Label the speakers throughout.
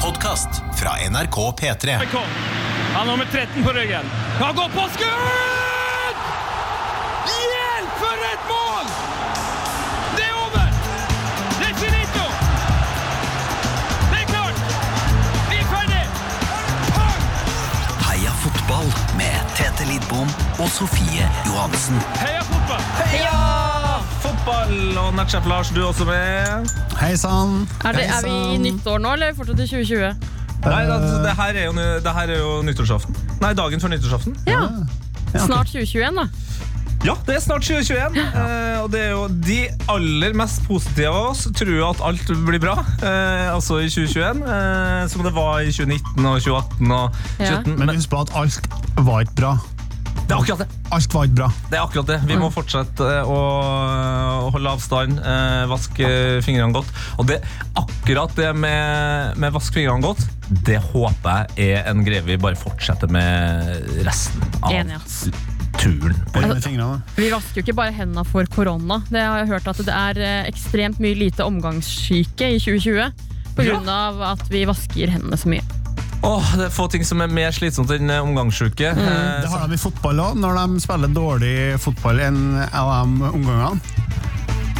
Speaker 1: Podkast fra NRK P3.
Speaker 2: Kom. Han har nummer 13 på ryggen. Han går på skudd! Hjelp, for et mål! Det er over! Det er finito! Det er klart! Vi er ferdig!
Speaker 3: Heia fotball med Tete Lidbom og Sofie Johansen.
Speaker 2: Heia fotball!
Speaker 4: Fotball og Natchap Lars, du er også med?
Speaker 5: Hei sann!
Speaker 6: Er, det, er vi i nytt år nå, eller er vi fortsatt i 2020?
Speaker 4: Nei, da, det, her er jo, nu- det her er jo nyttårsaften. Nei, dagen før nyttårsaften.
Speaker 6: Ja. Snart 2021, da.
Speaker 4: Ja, det er snart 2021. Eh, og det er jo de aller mest positive av oss tror jo at alt blir bra. Eh, altså i 2021, eh, som det var i 2019 og 2018 og 2017.
Speaker 5: Men
Speaker 4: Men
Speaker 5: husk på at alt var ikke bra.
Speaker 4: det er akkurat det.
Speaker 5: Alt var ikke bra.
Speaker 4: Det er akkurat det. Vi må fortsette eh, å å holde avstand, eh, vaske fingrene godt. Og det, akkurat det med, med vask fingrene godt, det håper jeg er en greie vi bare fortsetter med resten av
Speaker 6: Enig, ass.
Speaker 4: turen.
Speaker 5: Hold med fingrene.
Speaker 4: Eh,
Speaker 6: Vi vasker jo ikke bare hendene for korona. Det har jeg hørt at det er eh, ekstremt mye lite omgangssyke i 2020. På grunn av at vi vasker hendene så mye.
Speaker 4: Åh, det er få ting som er mer slitsomt enn eh, omgangssyke.
Speaker 6: Mm.
Speaker 4: Eh,
Speaker 5: Det har de i fotball òg, når de spiller dårlig fotball enn av de omgangene.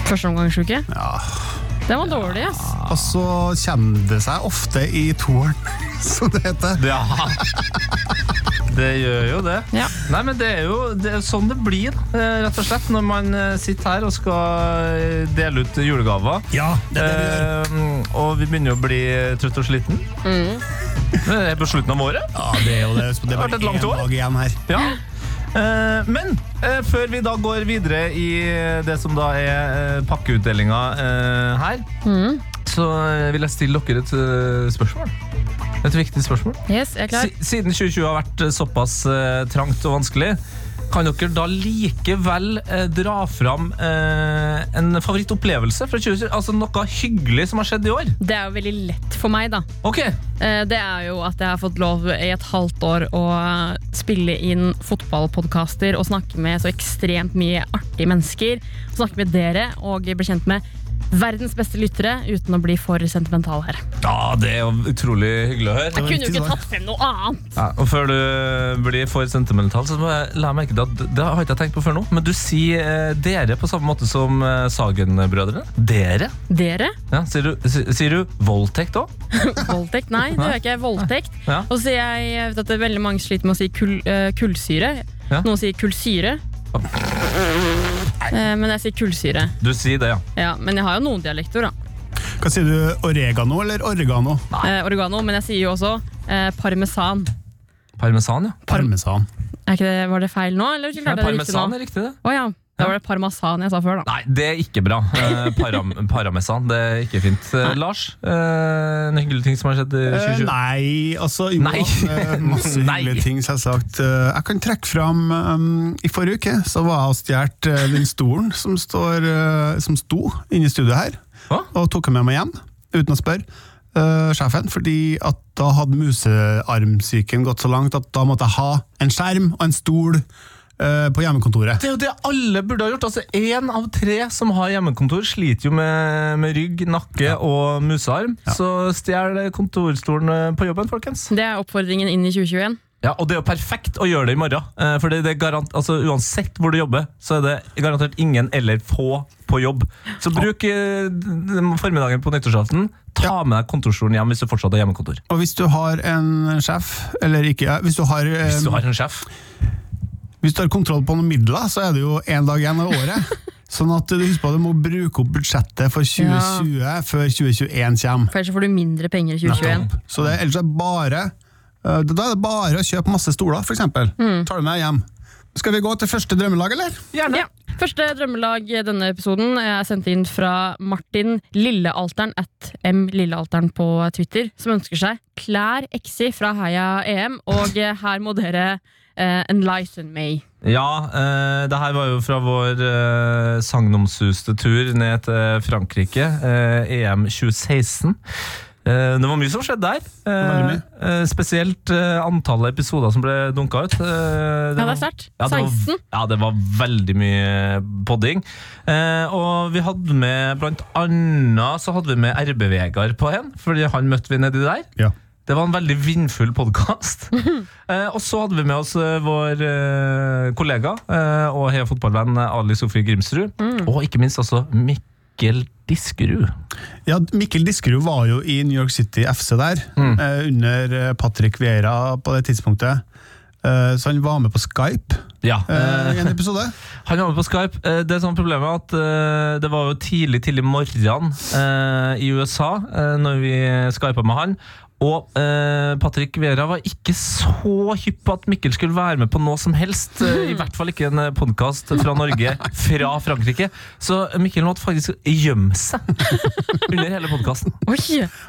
Speaker 6: Førsteomgangssyke. Ja. Den var dårlig, ass.
Speaker 4: Ah.
Speaker 5: Og så kommer det seg ofte i toeren, som det heter.
Speaker 4: Ja. Det gjør jo det.
Speaker 6: Ja.
Speaker 4: Nei, men Det er jo det er sånn det blir, da, eh, rett og slett, når man eh, sitter her og skal eh, dele ut julegaver.
Speaker 5: Ja, det er det vi gjør.
Speaker 4: Eh, og vi begynner jo å bli eh, trøtt og sliten.
Speaker 5: Mm.
Speaker 4: Men det er på slutten av året.
Speaker 5: Ja, det er jo det. Det
Speaker 4: Eh.
Speaker 5: er
Speaker 4: vært
Speaker 5: bare
Speaker 4: et langt
Speaker 5: én
Speaker 4: år.
Speaker 5: dag igjen her.
Speaker 4: Ja. Eh, men eh, før vi da går videre i eh, det som da er eh, pakkeutdelinga eh, her,
Speaker 5: Mm.
Speaker 4: så eh, vil jeg stille dere et eh, spørsmål. Et viktig spørsmål.
Speaker 6: Yes, jeg er klar.
Speaker 4: Si- Siden 2020 har vært eh, såpass eh, trangt og vanskelig, kan dere da likevel eh, dra fram eh, en favorittopplevelse fra 2020? Altså noe hyggelig som har skjedd i år?
Speaker 6: Det er jo veldig lett for meg, da.
Speaker 4: Ok,
Speaker 6: Eh, Det er jo at jeg har fått lov i et halvt år å spille inn fotballpodkaster og snakke med så ekstremt mye artige mennesker. Snakke med dere og bli kjent med verdens beste lyttere uten å bli for sentimental her.
Speaker 4: Ja, det er jo utrolig hyggelig å
Speaker 6: Jeg
Speaker 4: høre.
Speaker 6: kunne jo
Speaker 5: riktig
Speaker 6: ikke
Speaker 5: svar.
Speaker 6: tatt frem noe annet!
Speaker 4: Ja, og Før du blir for sentimental, så må jeg la meg merke til at det har ikke jeg tenkt på før nå, men du sier eh, dere på samme måte som eh, Sagen-brødrene. Dere?
Speaker 6: Dere?
Speaker 4: Ja, sier, du, si- sier du voldtekt òg?
Speaker 6: Voldtekt? Nei, det gjør jeg ikke. Voldtekt.
Speaker 4: Ja.
Speaker 6: Og så sier jeg, jeg vet at det er veldig mange sliter med å si kull, eh, kullsyre.
Speaker 4: Ja.
Speaker 6: Noen sier kullsyre. Eh, Men jeg sier kullsyre.
Speaker 4: Du sier det, ja.
Speaker 6: Ja, men jeg har jo noen dialekter, da.
Speaker 5: Hva sier du? Oregano eller oregano?
Speaker 6: Eh, Oregano. Men jeg sier jo også eh, parmesan.
Speaker 4: Parmesan, ja.
Speaker 5: Parmesan.
Speaker 6: Er ikke det, var det feil nå, eller
Speaker 4: ja
Speaker 6: klarte jeg det riktig
Speaker 4: parmesan
Speaker 6: nå?
Speaker 4: er riktig, det.
Speaker 6: Å ja. Da var det parmesan jeg sa før, da.
Speaker 4: Nei, det er ikke bra. Eh, Param paramesan, det er ikke fint. Eh, Lars, eh, en hyggelig ting som har skjedd i
Speaker 5: Eh,
Speaker 4: 2020?
Speaker 5: Nei, altså jo,
Speaker 4: Nei.
Speaker 5: eh, Masse
Speaker 4: Nei.
Speaker 5: hyggelige ting, selvsagt. Eh, Jeg kan trekke fram um, I forrige uke så var jeg og stjålet eh, den stolen som, står, eh, som sto inne i studioet her,
Speaker 4: Hva?
Speaker 5: og tok den med meg hjem uten å spørre. eh, sjefen, fordi at da hadde musearmsyken gått så langt at da måtte jeg ha en skjerm og en stol eh, på hjemmekontoret.
Speaker 4: Det er jo det alle burde ha gjort. Altså, Én av tre som har hjemmekontor, sliter jo med, med rygg, nakke og musearm. Så stjel kontorstolen eh, på jobben, folkens.
Speaker 6: Det er oppfordringen inn i 2021.
Speaker 4: Ja, Og det er jo perfekt å gjøre det i morgen. eh, For det det er garant, altså, uansett hvor du jobber, så er det garantert ingen eller få på jobb. Så bruk eh, d- d- formiddagen på nyttårsaften. Ta med deg kontorstolen hjem hvis du fortsatt har hjemmekontor.
Speaker 5: Og hvis du har en sjef, eller ikke ja, Hvis du har, eh,
Speaker 4: Hvis du har en sjef.
Speaker 5: Hvis du har kontroll på noen midler, så er det jo én dag igjen av året. Sånn at du husker på at du må bruke opp budsjettet for 2020 før 2021 kommer.
Speaker 6: For ellers så får du mindre penger i 2021.
Speaker 5: Så det, ellers er det bare eh, Da er det bare å kjøpe masse stoler, f.eks. Tar du med hjem. Skal vi gå til første drømmelag, eller?
Speaker 4: Gjerne.
Speaker 6: Ja. Første drømmelag i denne episoden er sendt inn fra Martin Lillealteren at M Lillealteren på Twitter, som ønsker seg klær XI fra Heia EM, og eh, her må dere eh, enlighten me.
Speaker 4: Ja, eh, det her var jo fra vår eh, sagnomsuste tur ned til Frankrike, eh, EM 2016. E Eh, Det var mye som skjedde der. Eh,
Speaker 5: Veldig
Speaker 4: eh, Spesielt eh, antallet episoder som ble dunka ut. Eh, det
Speaker 6: Ja, det
Speaker 4: var-
Speaker 6: er sterkt.
Speaker 4: Ja, det var-
Speaker 6: 16.
Speaker 4: Ja, det var veldig mye podding. Eh, Og vi hadde med blant annet så hadde vi med RB Vegard på en, fordi han møtte vi nedi der.
Speaker 5: Ja.
Speaker 4: Det var en veldig vindfull podkast. eh, og så hadde vi med oss eh, vår eh, kollega eh, og heia fotballvenn eh, Ali Sofie Grimsrud. Og ikke minst altså Mikkel Diskerud.
Speaker 5: Ja, Mikkel Diskerud var jo i New York City FC der, eh, under eh, Patrick Vieira på det tidspunktet. Eh, så han var med på Skype
Speaker 4: Ja.
Speaker 5: eh, i en episode.
Speaker 4: Han var med på Skype. Eh, Det er sånn problemet er at eh, det var jo tidlig tidlig morgen eh, i USA eh, når vi skypa med han. Og eh, Patrick Vera var ikke så hypp på at Mikkel skulle være med på noe som helst. eh, I hvert fall ikke en podkast fra Norge fra Frankrike. Så Mikkel måtte faktisk gjemme seg under hele podkasten.
Speaker 6: Oi!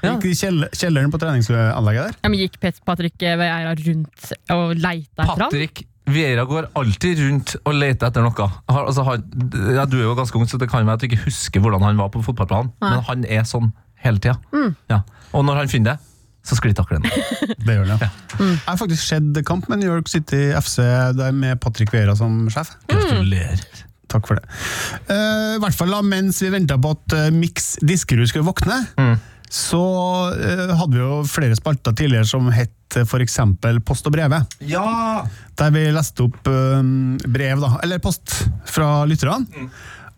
Speaker 4: Ja.
Speaker 5: Gikk i kjell kjelleren på treningsanlegget der.
Speaker 6: Ja, men gikk Pet- Patrick Veira rundt og leita etter han?
Speaker 4: Patrick Vera går alltid rundt og leter etter noe. Han, altså, han, ja, du er jo ganske ung, så det kan være at du ikke husker hvordan han var på fotballplanen, men han er sånn hele tida. Ja. Og når han finner det, så sklir taklene.
Speaker 5: Det gjør det. Jeg har faktisk sett kamp med New York City FC der med Patrick Vieira som sjef.
Speaker 4: Gratulerer.
Speaker 5: Takk for det. Eh, I hvert fall da, Mens vi venta på at eh, Mix Diskerud skulle våkne, så eh, hadde vi jo flere spalter tidligere som het f.eks. Post og brevet. Der vi leste opp eh, brev, da, eller post, fra lytterne.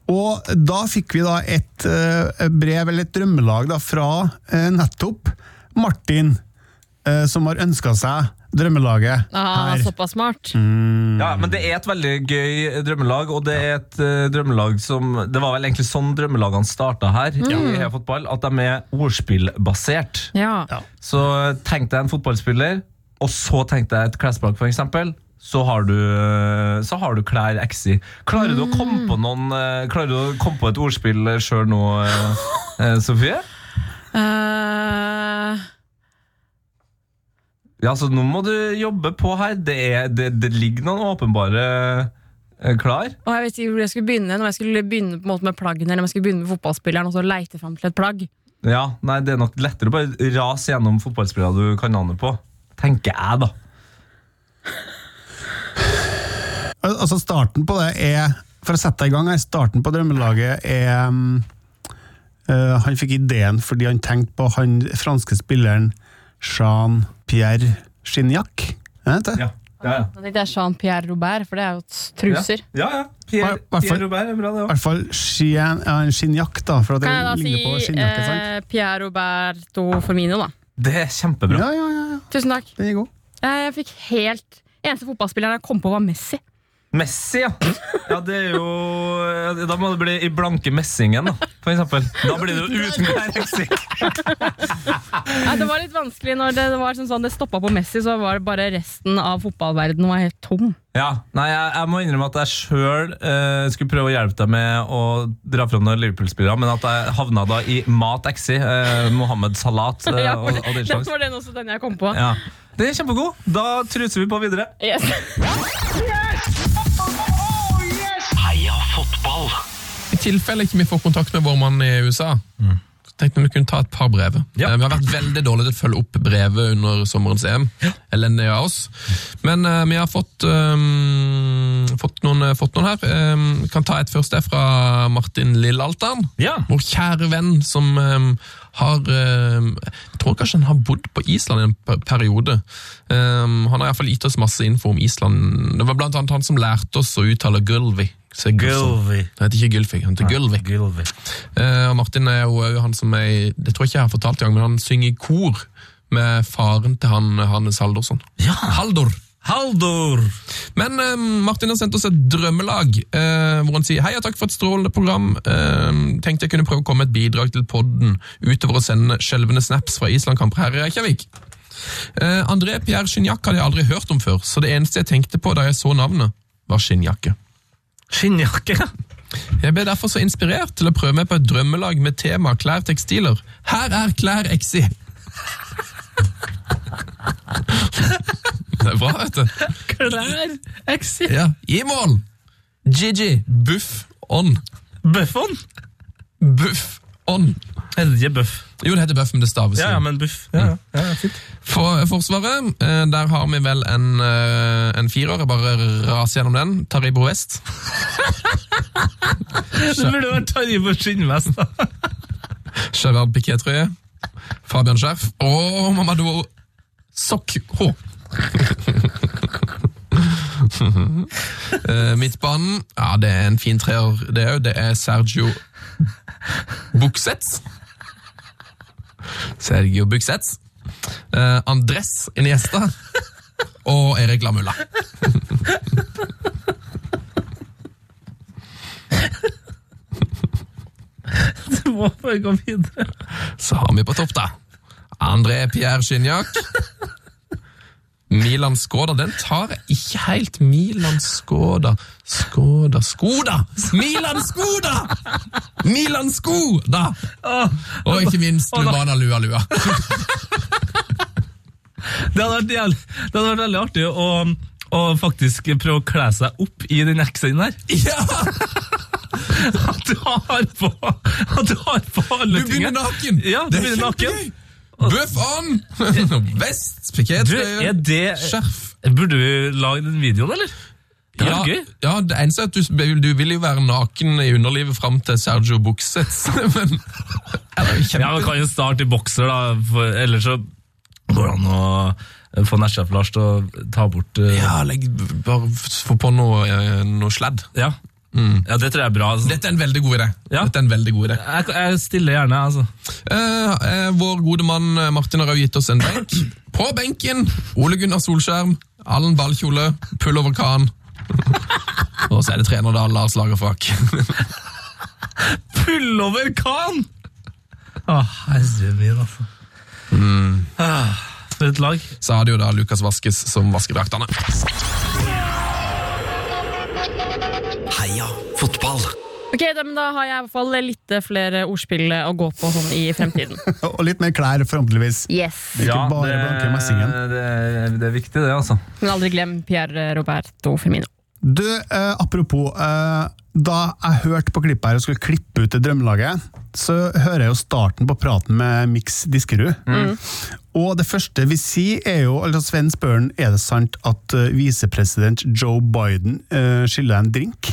Speaker 5: Og da fikk vi da et eh, brev, eller et drømmelag, da, fra eh, nettopp Martin, eh, som har ønska seg drømmelaget
Speaker 6: Ah,
Speaker 5: her.
Speaker 6: såpass smart.
Speaker 4: Ja, men det er et veldig gøy drømmelag, og det er et eh, drømmelag som Det var vel egentlig sånn drømmelagene starta her, i Heia fotball, at de er ordspillbasert.
Speaker 6: Ja.
Speaker 5: Ja.
Speaker 4: Så tenk deg en fotballspiller, og så tenk deg et klesplagg, for eksempel. Så har, du, eh, så har du klær XI. Klarer du å komme på noen eh, Klarer du å komme på et ordspill sjøl nå, eh, eh, Sofie?
Speaker 6: Eh,
Speaker 4: Ja, så Nå må du jobbe på her. Det, er, det, det ligger noen åpenbare eh, klar.
Speaker 6: og jeg vet ikke hvor jeg skulle begynne. Når jeg skulle begynne på en måte med plaggene eller om jeg skulle begynne med fotballspilleren og så leite fram til et plagg.
Speaker 4: Ja, nei, Det er nok lettere å bare rase gjennom fotballspillere du kan navnet på. Tenker jeg, da.
Speaker 5: Al- Altså starten på det er For å sette deg i gang her, starten på drømmelaget er mm, eh, Han fikk ideen fordi han tenkte på han franske spilleren Jean-Pierre Gignac. Er det det?
Speaker 4: Ja, ja,
Speaker 6: Da tenkte jeg Jean-Pierre Robert, for det er jo s-
Speaker 4: ja.
Speaker 6: truser.
Speaker 4: ja, ja.
Speaker 5: Hva-
Speaker 4: Pierre,
Speaker 5: hva for-
Speaker 4: Pierre Robert er bra, det
Speaker 5: I
Speaker 4: òg.
Speaker 5: hvert fall Chien- ja, en Gignac, da, for at det
Speaker 6: Kan jeg da
Speaker 5: ligner på
Speaker 6: si
Speaker 5: skinnjakke. sant?
Speaker 6: eh, Pierre Roberto Formino, da?
Speaker 4: Det er
Speaker 6: eh,
Speaker 4: kjempebra.
Speaker 5: Ja, ja, ja, ja.
Speaker 6: Tusen takk.
Speaker 5: Den er god.
Speaker 6: Eh, Jeg fikk helt Eneste fotballspilleren jeg kom på, var Messi.
Speaker 4: Messi, ja. ja. Det er jo Da må det bli i blanke messingen, da. For eksempel. Da blir det jo uten klær.
Speaker 6: Nei, det var litt vanskelig når det, det var sånn, sånn, det stoppa på Messi, så var det bare resten av fotballverdenen var helt tom.
Speaker 4: Ja, nei, jeg, jeg må innrømme at jeg sjøl skulle prøve å hjelpe deg med å dra fram noen Liverpool-spillere, men at jeg havna da i Mat Exi, eh, Mohammed Salat eh,
Speaker 6: Ja, for
Speaker 4: og,
Speaker 6: det,
Speaker 4: og den
Speaker 6: det
Speaker 4: slags.
Speaker 6: var den også den jeg kom på.
Speaker 4: Ja. Det er kjempegod. Da truser vi på videre.
Speaker 6: Yes.
Speaker 3: Heia fotball!
Speaker 7: I tilfelle ikke vi får kontakt med vår mann i USA, så tenkte vi vi kunne ta et par brev.
Speaker 4: Mm. Ja.
Speaker 7: Eh, Vi har vært veldig dårlige til å følge opp brevet under sommerens EM. Elendig av oss. Men eh, vi har fått, eh, fått, noen, eh, fått noen her. Eh, Vi kan ta et først. Det er fra Martin Lillealteren.
Speaker 4: Ja.
Speaker 7: Vår kjære venn som eh, har eh, Jeg tror kanskje han har bodd på Island i en per- periode. Eh, han har iallfall gitt oss masse info om Island. Det var blant annet han som lærte oss å uttale Gulvi. Det heter ikke Gylfi, han heter Gylvi. Eh, og Martin er jo eh, han som er, i- det tror jeg ikke jeg har fortalt i gang, men han synger i kor med faren til han, eh, Hannes Haldorsson. Haldor!
Speaker 4: Haldor!
Speaker 7: Men eh, Martin har sendt oss et drømmelag, eh, hvor han sier «Hei og takk for et strålende program. Eh, tenkte jeg kunne prøve å komme med et bidrag til podden utover å sende skjelvende snaps fra Islandkamper her i Reykjavik. Eh, André Pierre Gignac hadde jeg aldri hørt om før, så det eneste jeg tenkte på da jeg så navnet, var skinnjakke.
Speaker 4: Skinnjakke.
Speaker 7: Jeg ble derfor så inspirert til å prøve meg på et drømmelag med tema klær tekstiler. Her er klær exi! Det er bra, vet du.
Speaker 4: Klær Exi.
Speaker 7: Ja. I mål! Gigi, buff on.
Speaker 4: Bøffon.
Speaker 7: Buff on.
Speaker 4: Helge Bøff.
Speaker 7: Jo, det heter Buff, men det staves
Speaker 4: Ja, ja,
Speaker 7: jo.
Speaker 4: men buff. Ja, ja, ja, fint.
Speaker 7: For, forsvaret, eh, der har vi vel en, eh, en firer. Jeg bare raser gjennom den. Taribo West.
Speaker 4: Det burde vært Taribo skinnvest. da.
Speaker 7: Gerard Piquet-trøye. Fabian Skjerf. Og Mamadou Sokho. Eh, Midtbanen, ja, det er en fin treer, det òg. Det er Sergio Buksets. Sergio Buksets. Eh, Andres Iniesta. Og Erik Lamulla.
Speaker 4: Du må bare gå videre.
Speaker 7: Så har vi på topp, da. André Pierre Gignac. Milan Skoda, den tar jeg ikke helt. Milan Skoda Skoda Skoda! Milan Skoda! Milan Skoda! Og ikke minst Lubana Lua Lua.
Speaker 4: Det hadde vært, jævlig, det hadde vært veldig artig å, å faktisk prøve å kle seg opp i den eksen der.
Speaker 7: Ja!
Speaker 4: At du har på, at du har på alle
Speaker 7: Du begynner
Speaker 4: tingene.
Speaker 7: naken!
Speaker 4: Ja, du
Speaker 7: Det er
Speaker 4: begynner naken.
Speaker 7: kjempegøy. Bøff on! Vest,
Speaker 4: Du, er
Speaker 7: pikétrøye,
Speaker 4: det
Speaker 7: skjerf.
Speaker 4: Burde vi lage den videoen, eller? Det
Speaker 7: ja,
Speaker 4: var gøy.
Speaker 7: Ja, det eneste er at du, du vil jo være naken i underlivet fram til Sergio Buksets, men Eller, kjempe-
Speaker 4: Ja, men Kan jo starte i bokser, da. For, ellers så går det an å eh, få Nesjef Lars til å ta bort eh,
Speaker 7: ja, legg, bare f- få på noe, eh, noe sladd.
Speaker 4: Ja. ja, det tror jeg er bra. Altså.
Speaker 7: Mm. Dette er en veldig god idé.
Speaker 4: Ja.
Speaker 7: Dette er en veldig god idé.
Speaker 4: Jeg, jeg stiller gjerne, altså.
Speaker 7: Eh, eh, vår gode mann eh, Martin har jo gitt oss en benk. På benken Ole Gunnar Solskjerm, Allen Ballkjole, Pullover Khan. Og så er det trener da, Lars Lagerfak.
Speaker 4: Pullover Khan! Å, herre min, altså. Ah, For et lag.
Speaker 7: Så har det jo da Lukas Vaskes som vasker draktene.
Speaker 3: Heia fotball.
Speaker 6: Ok, da, men da har jeg i hvert fall litt flere ordspill å gå på sånn i fremtiden.
Speaker 5: Og litt mer klær, forhåpentligvis.
Speaker 6: Yes.
Speaker 5: Ikke bare blanke messingen.
Speaker 4: det er viktig, det, altså.
Speaker 6: Men aldri glem Pierre Roberto Firmino.
Speaker 5: Du, eh, apropos eh, Da jeg hørte på klippet her og skulle klippe ut det drømmelaget, så hører jeg jo starten på praten med Mix Diskerud. Og det første vi sier, er jo altså Sven spør han, er det sant at eh, visepresident Joe Biden eh, skylder deg en drink.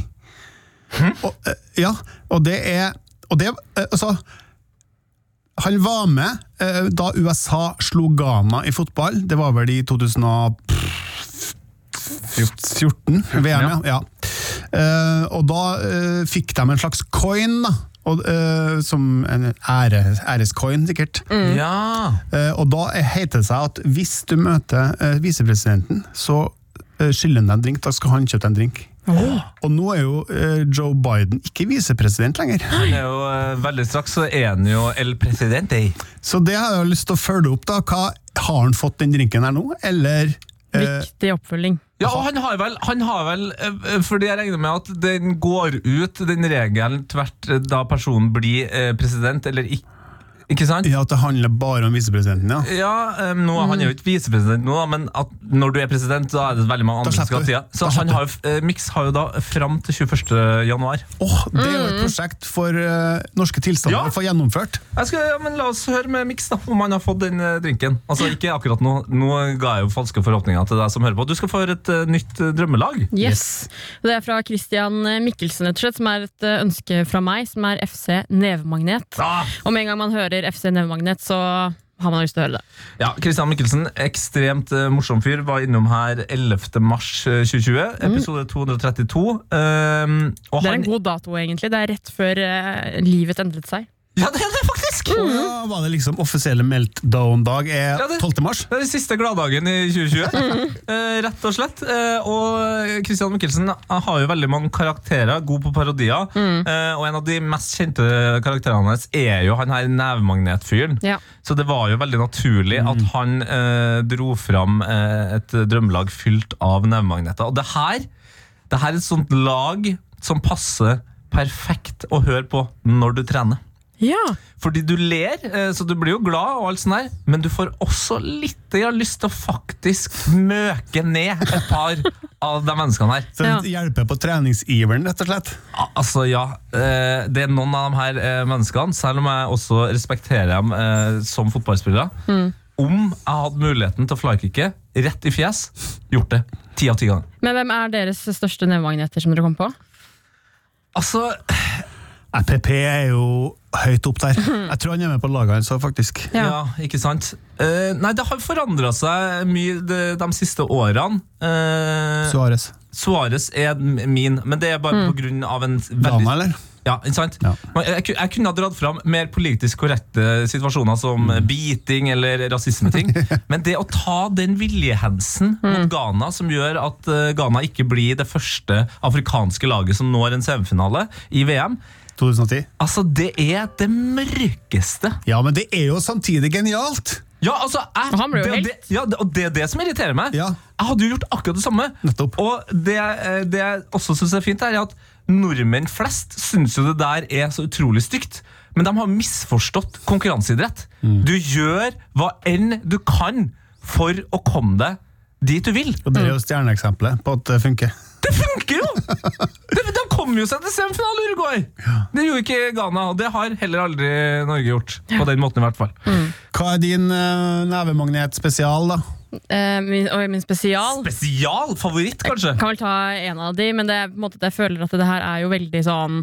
Speaker 5: Og, eh, ja, og det er og det, eh, altså, Han var med eh, da USA slo Ghana i fotball. Det var vel i 2012. 14, VM, ja. ja. Eh, og da eh, fikk de en slags coin, da. Og, eh, som en ære, ærescoin, sikkert.
Speaker 4: Mm. Ja.
Speaker 5: Eh, og da heter det seg at hvis du møter eh, visepresidenten, så eh, skylder han deg en drink. Da skal han kjøpe deg en drink. Og nå er jo eh, Joe Biden ikke visepresident lenger.
Speaker 4: Han er jo, eh, veldig straks så er han jo El Presidente.
Speaker 5: Så det har jeg lyst til å følge opp. da. Hva Har han fått den drinken her nå, eller eh,
Speaker 6: Viktig oppfølging.
Speaker 4: Ja, og han har vel, han har vel eh, Fordi jeg regner med at den går ut, den regelen, tvert eh, da personen blir eh, president, eller ikke. Ikke sant?
Speaker 5: ja, at det handler bare om visepresidenten? ja.
Speaker 4: Ja, um, nå, Han er jo ikke visepresident nå, da, men at når du er president, da er det veldig mange andre som skal
Speaker 5: slipper
Speaker 4: ha
Speaker 5: vi.
Speaker 4: tida. Så
Speaker 5: Da
Speaker 4: han
Speaker 5: slipper
Speaker 4: har, jo- eh, Mix har jo da fram til 21. januar.
Speaker 5: Åh, Det er jo et prosjekt for eh, norske tilstander
Speaker 4: Ja.
Speaker 5: å få gjennomført.
Speaker 4: Jeg skal, ja, men La oss høre med Mix da, om han har fått den eh, drinken. Altså, ikke akkurat Nå Nå ga jeg jo falske forhåpninger til deg som hører på. Du skal få høre et eh, nytt eh, drømmelag.
Speaker 6: Yes. Det er fra Christian Mikkelsen, rett og slett, som er et eh, ønske fra meg, som er FC Nevemagnet.
Speaker 4: Ah,
Speaker 6: Og med en gang man hører FC Nevemagnet, så har man lyst til å høre det.
Speaker 4: Ja, Kristian Mikkelsen, ekstremt eh, morsom fyr, var innom her 11. mars eh, 2020, episode 232. Um, og
Speaker 6: Det er
Speaker 4: han,
Speaker 6: en god dato, egentlig. Det er rett før eh, livet endret seg.
Speaker 4: Ja, det er det faktisk!
Speaker 5: Å ja, var det liksom offisielle meltdown-dag er
Speaker 4: Ja, det-
Speaker 5: 12. mars?
Speaker 4: Det er den siste gladdagen i 2020, eh, rett og slett. Eh, og Kristian Mikkelsen har jo veldig mange karakterer, god på parodier. Eh, og en av de mest kjente karakterene hans er jo han her nevemagnetfyren.
Speaker 6: Ja.
Speaker 4: Så det var jo veldig naturlig at han eh, dro fram eh, et drømmelag fylt av nevemagneter. Og det her, det her er et sånt lag som passer perfekt å høre på når du trener.
Speaker 6: Ja.
Speaker 4: Fordi du ler, eh, så du blir jo glad, og alt sånt der, men du får også litt jeg har lyst til å faktisk møke ned et par av de menneskene her.
Speaker 5: Så det hjelper på treningsiveren, rett og slett.
Speaker 4: Al- Altså, ja. eh, Det er noen av de her eh, menneskene, selv om jeg også respekterer dem eh, som fotballspillere. Om jeg hadde muligheten til å flykicke rett i fjes, gjort det. Ti av ti ganger.
Speaker 6: Men hvem er deres største nevemagneter som dere kom på?
Speaker 4: Altså,
Speaker 5: PP er jo høyt opp der. Jeg tror han er med på laget hans òg, faktisk.
Speaker 4: ja. ikke sant? Eh, nei, det har forandra seg mye de, de siste årene. Eh,
Speaker 5: Suárez.
Speaker 4: Suarez er m- min, men det er bare på grunn av en veldig
Speaker 5: Dama, eller?
Speaker 4: Ja, ikke sant?
Speaker 5: Ja.
Speaker 4: Men Jeg, ku- jeg kunne ha dratt fram mer politisk korrekte situasjoner som
Speaker 5: Mm.
Speaker 4: eh, biting eller rasismeting, men det å ta den viljehensen mot Ghana som gjør at eh, Ghana ikke blir det første afrikanske laget som når en semifinale i VM,
Speaker 5: 2010.
Speaker 4: altså det er det mørkeste.
Speaker 5: Ja, men det er jo samtidig genialt!
Speaker 4: Ja, altså, jeg,
Speaker 6: Og han ble jo
Speaker 4: det,
Speaker 6: helt-
Speaker 4: det, ja, det- og det er det som irriterer meg.
Speaker 5: Ja.
Speaker 4: Jeg hadde jo gjort akkurat det samme.
Speaker 5: Nettopp.
Speaker 4: Og det, eh, det jeg også syns er fint, er at nordmenn flest syns jo det der er så utrolig stygt. Men de har misforstått konkurranseidrett.
Speaker 5: Mm.
Speaker 4: Du gjør hva enn du kan for å komme deg dit du vil.
Speaker 5: Og det er jo stjerneeksempelet på at det funker.
Speaker 4: Det funker jo! De, de kom jo seg til semifinale, Uruguay! Det gjorde ikke Ghana, og det har heller aldri Norge gjort. På den måten, i hvert fall.
Speaker 6: Mm.
Speaker 5: Hva er din uh, nevemagnetspesial, da?
Speaker 6: Eh, min, og min spesial
Speaker 4: Spesial favoritt, kanskje?
Speaker 6: kan vel ta en av de, men det er på en måte at jeg føler at det her er jo veldig sånn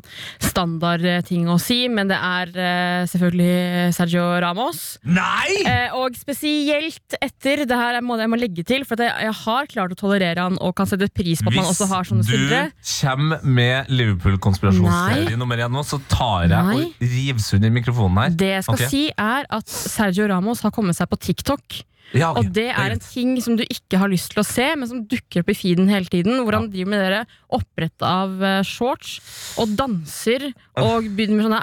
Speaker 6: standard eh, ting å si, men det er eh, selvfølgelig Sergio Ramos.
Speaker 4: Nei!
Speaker 6: Eh, og spesielt etter det her må jeg må legge til, for at jeg, jeg har klart å tolerere han og kan sette pris på at man også har sånne spillere.
Speaker 4: Hvis du kommer med Liverpool-konspirasjonsteori
Speaker 6: Nei.
Speaker 4: nummer én nå, så tar jeg
Speaker 6: Nei.
Speaker 4: og river under mikrofonen her.
Speaker 6: Det jeg skal
Speaker 4: Ok.
Speaker 6: si, er at Sergio Ramos har kommet seg på TikTok.
Speaker 4: Ja, ok.
Speaker 6: Og det er en ting som du ikke har lyst til å se, men som dukker opp i feeden hele tiden. Hvor han driver med dere opprett av eh, shorts og danser og begynner med sånne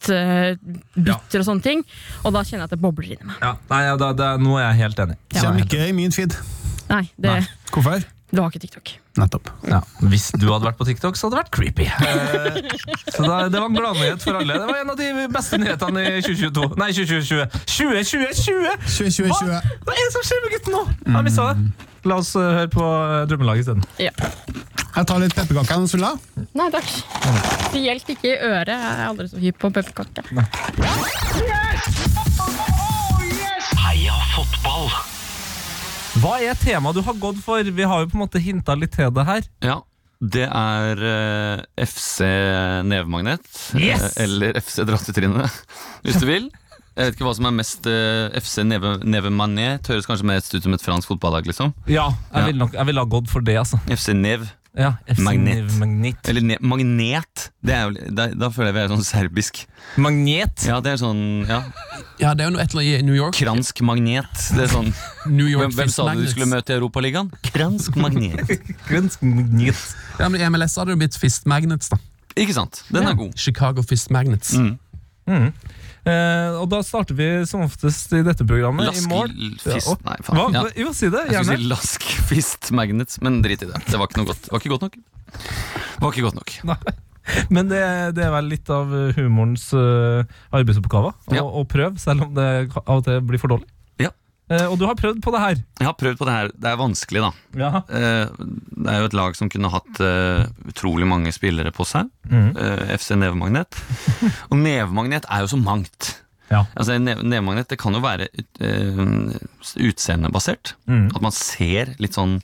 Speaker 6: outfit-bytter og sånne ting. Og da kjenner jeg at det bobler inni meg.
Speaker 4: ja, nei, ja, da, da, Nå er jeg helt enig.
Speaker 5: Kjem ikke i min feed.
Speaker 6: Nei, det,
Speaker 5: Hvorfor?
Speaker 6: det var ikke TikTok.
Speaker 5: Nettopp.
Speaker 4: Ja, hvis du hadde vært på TikTok, så hadde det vært creepy. Eh, så da, Det var en gladnyhet for alle. Det var en av de beste nyhetene i 2022. Nei, 2020. 2020!
Speaker 5: 2020.
Speaker 4: Hva? Hva er det som skjer med gutten nå? Jeg mista det. La oss eh, høre på eh, Drømmelaget isteden.
Speaker 6: Ja.
Speaker 5: Jeg tar litt pepperkaker. Hans Ulla.
Speaker 6: Nei takk. Spesielt ikke i øret. Jeg er aldri så hypp på pepperkake.
Speaker 3: Heia fotball!
Speaker 4: Hva er temaet du har gått for? Vi har jo på en måte hinta litt til det her.
Speaker 8: Ja, det er eh, FC Nevemagnet.
Speaker 4: Yes!
Speaker 8: eh, Eller FC Drastetrinnet, hvis du vil. Jeg vet ikke hva som er mest eh, FC Neve, Nevemagnet. Høres kanskje mest ut som et fransk fotballag, liksom.
Speaker 4: Ja, jeg
Speaker 8: Ja.
Speaker 4: ville nok- jeg ville ha gått for det, altså.
Speaker 8: FC Nev,
Speaker 4: Ja, FC
Speaker 8: Magnet.
Speaker 4: Magnet.
Speaker 8: eller ne Magnet. Det er jo, da, da føler jeg vi er sånn serbisk.
Speaker 4: Magnet.
Speaker 8: Ja, det er sånn ja,
Speaker 7: Ja, det er jo noe et eller annet i New York.
Speaker 8: Kransk magnet. Det er sånn,
Speaker 7: New York
Speaker 8: hvem, hvem sa du du skulle møte i Europaligaen? Kransk magnet.
Speaker 4: Grønsk magnet.
Speaker 7: Ja, men I MLS hadde det jo blitt Fist Magnets, da.
Speaker 8: Ikke sant? Den er god.
Speaker 7: Chicago Fist Magnets.
Speaker 8: Mm.
Speaker 4: Eh, og da starter vi som oftest i dette programmet i morgen. Ja,
Speaker 8: Laskefist
Speaker 4: og-
Speaker 8: Nei, faen.
Speaker 4: Hva?
Speaker 8: Ja.
Speaker 4: Jo, si det.
Speaker 8: Jeg skulle
Speaker 4: Gjerne.
Speaker 8: si laskfist magnets, men drit i det. Det var ikke noe godt. Det var ikke godt nok. Det var ikke godt nok.
Speaker 4: Men det, det er vel litt av humorens eh, arbeidsoppgave å,
Speaker 8: Ja.
Speaker 4: å prøve, selv om det av og til blir for dårlig.
Speaker 8: Ja.
Speaker 4: Eh, og du har prøvd på det her.
Speaker 8: Jeg har prøvd på det her. Det er vanskelig, da.
Speaker 4: Ja.
Speaker 8: Eh, Det er jo et lag som kunne hatt eh, utrolig mange spillere på seg. Eh, FC Nevemagnet. Og nevemagnet er jo så mangt.
Speaker 4: Ja.
Speaker 8: Altså, en neve- Nevemagnet det kan jo være ut, eh, utseendebasert. At man ser litt sånn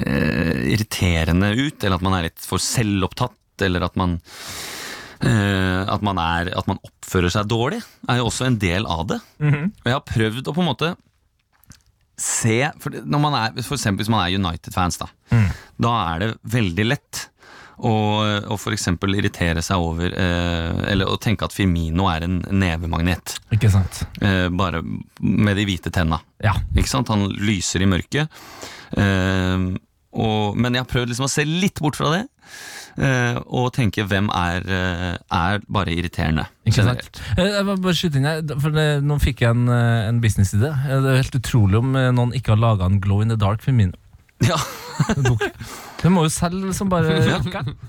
Speaker 8: eh, irriterende ut, eller at man er litt for selvopptatt, eller at man eh, at, man er, at man oppfører seg dårlig, er jo også en del av det. Og jeg har prøvd å på en måte se For, det- når man er, for eksempel hvis man er United-fans, da,
Speaker 4: Mm.
Speaker 8: da er det veldig lett å, å for eksempel irritere seg over eh, Eller å tenke at Firmino er en nevemagnet.
Speaker 4: Ikke sant.
Speaker 8: Eh, bare med de hvite tenna.
Speaker 4: Ja.
Speaker 8: Ikke sant? Han lyser i mørket. Eh, og, men jeg har prøvd liksom å se litt bort fra det, eh, og tenke hvem er, eh, er bare irriterende.
Speaker 4: Ikke
Speaker 8: generelt.
Speaker 4: sant? Eh, Jeg må bare skyte inn her, for det, Nå fikk jeg en, eh, en businessidé. Eh, Det er helt utrolig om eh, noen ikke har laga en Glow in the Dark Firmino.
Speaker 8: Ja,
Speaker 4: Du må jo selge som bare
Speaker 8: Ja.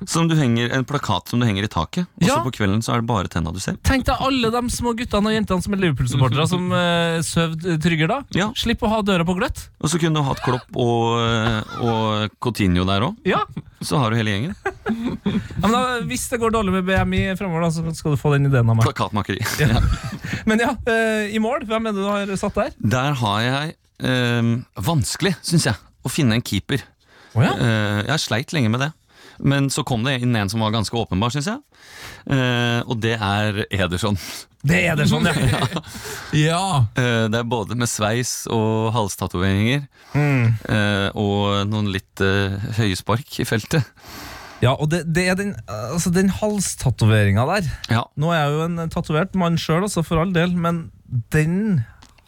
Speaker 8: som du henger, En plakat som du henger i taket, og
Speaker 4: Ja.
Speaker 8: så på kvelden så er det bare tenna du ser.
Speaker 4: Tenk deg alle de små guttene og jentene som er Liverpool-supportere, som uh, søvde trygger da.
Speaker 8: Ja.
Speaker 4: Slipp å ha døra på gløtt.
Speaker 8: Og så kunne du hatt Klopp og, og Coutinho der òg.
Speaker 4: Ja.
Speaker 8: Så har du hele gjengen.
Speaker 4: Ja, Men da, hvis det går dårlig med BMI fremover, da, så skal du få den ideen av meg.
Speaker 8: Plakatmakeri.
Speaker 4: Men ja, eh, i mål, hvem er det du har satt der?
Speaker 8: Der har jeg ehm, vanskelig, syns jeg, å finne en keeper.
Speaker 4: Oh, ja.
Speaker 8: Eh, jeg har sleit lenge med det. Men så kom det inn en som var ganske åpenbar, syns jeg. Eh, og det er Ederson.
Speaker 4: Det er det sånn, ja.
Speaker 7: Ja!
Speaker 8: Eh, det er både med sveis og halstatoveringer. eh, og noen litt eh, høye spark i feltet.
Speaker 4: ja og det, det er den, altså, den halstatoveringa der.
Speaker 8: Ja,
Speaker 4: Nå er jeg jo en tatovert mann sjøl, altså, for all del, men den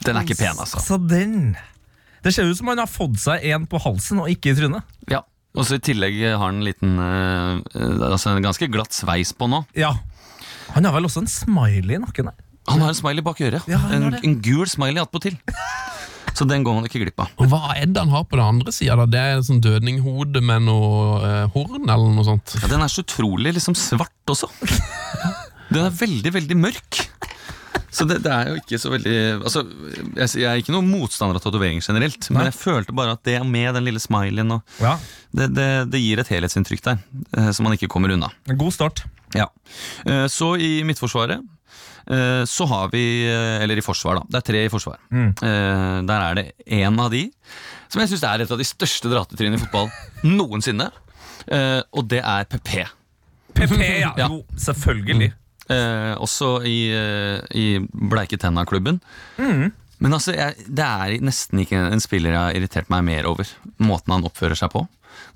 Speaker 8: Den er ikke pen, altså.
Speaker 4: Altså, den Det ser ut som han har fått seg en på halsen og ikke i trynet.
Speaker 8: Ja. Og så i tillegg har han en liten eh, eh, Altså en ganske glatt sveis på nå.
Speaker 4: Ja. Han har vel også en smiley i nakken der.
Speaker 8: Han har en smiley bak øret.
Speaker 4: Ja, han har
Speaker 8: en,
Speaker 4: det.
Speaker 8: en gul smiley attpåtil. Så den går man ikke glipp av.
Speaker 7: Og hva er det han har på den andre sida? da? Det er en sånn dødninghode med noe eh, horn eller noe sånt?
Speaker 8: Ja, den er så utrolig liksom svart også. Den er veldig, veldig mørk. Så det, det er jo ikke så veldig Altså, jeg, jeg er ikke noen motstander av tatoveringer generelt,
Speaker 4: Nei.
Speaker 8: men jeg følte bare at det med den lille smileyen og
Speaker 4: Ja,
Speaker 8: det, det, det gir et helhetsinntrykk der, eh, som man ikke kommer unna.
Speaker 4: en God start.
Speaker 8: Ja. Eh, Så i Midtforsvaret eh, så har vi eh, Eller i forsvar, da. Det er tre i forsvar. Eh, Der er det én av de som jeg syns er et av de største dratetrynene i fotball noensinne. Eh, Og det er PP.
Speaker 4: PP, ja.
Speaker 8: Ja.
Speaker 4: Jo, selvfølgelig.
Speaker 8: Eh, også i, eh, i Bleike tenna-klubben. Men altså, jeg, det er nesten ikke en spiller jeg har irritert meg mer over. Måten han oppfører seg på.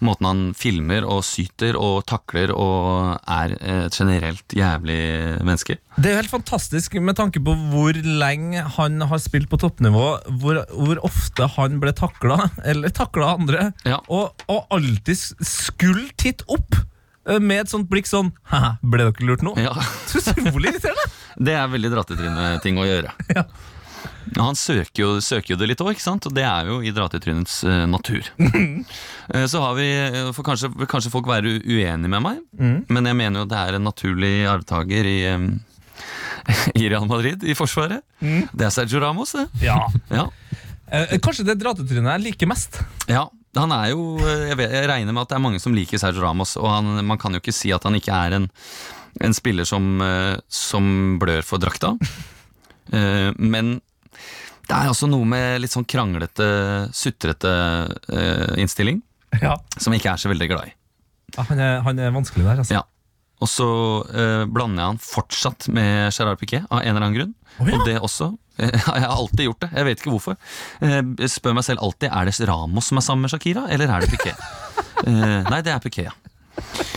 Speaker 8: Måten han filmer og syter og takler og er eh, et generelt jævlig menneske.
Speaker 4: Det er jo helt fantastisk med tanke på hvor lenge han har spilt på toppnivå, hvor, hvor ofte han ble takla, eller takla andre,
Speaker 8: Ja.
Speaker 4: og, og alltid s- skulle titte opp eh, med et sånt blikk sånn Haha, ble dere lurt nå?
Speaker 8: Ja,
Speaker 4: Så utrolig irriterende!
Speaker 8: Det er veldig dratetryne-ting å gjøre.
Speaker 4: Ja.
Speaker 8: Han søker jo, søker jo det litt òg, ikke sant? Og det er jo i dratetrynets eh, natur. Eh, Så har vi, eh, for kanskje, vil kanskje folk være u- uenige med meg, men jeg mener jo det er en naturlig arvtaker i, eh, i Real Madrid, i Forsvaret. Det er Sergio Ramos, det.
Speaker 4: Ja.
Speaker 8: Ja.
Speaker 4: Eh, kanskje det dratetrynet jeg liker mest.
Speaker 8: ja. Han er jo, eh, jeg, vet, jeg regner med at det er mange som liker Sergio Ramos, og han, man kan jo ikke si at han ikke er en, en spiller som, eh, som blør for drakta. Eh, Men det er også noe med litt sånn kranglete, sutrete eh, innstilling,
Speaker 4: Ja.
Speaker 8: som jeg ikke er så veldig glad i.
Speaker 4: han, er, han er vanskelig der, altså.
Speaker 8: Ja. Og så eh, blander jeg han fortsatt med Gerard Piquet, av en eller annen grunn. Og det også. Eh, jeg har alltid gjort det. Jeg vet ikke hvorfor. Eh, jeg spør meg selv alltid er det Ramos som er sammen med Shakira, eller er det Piquet? Eh, nei, det er Piquet, ja.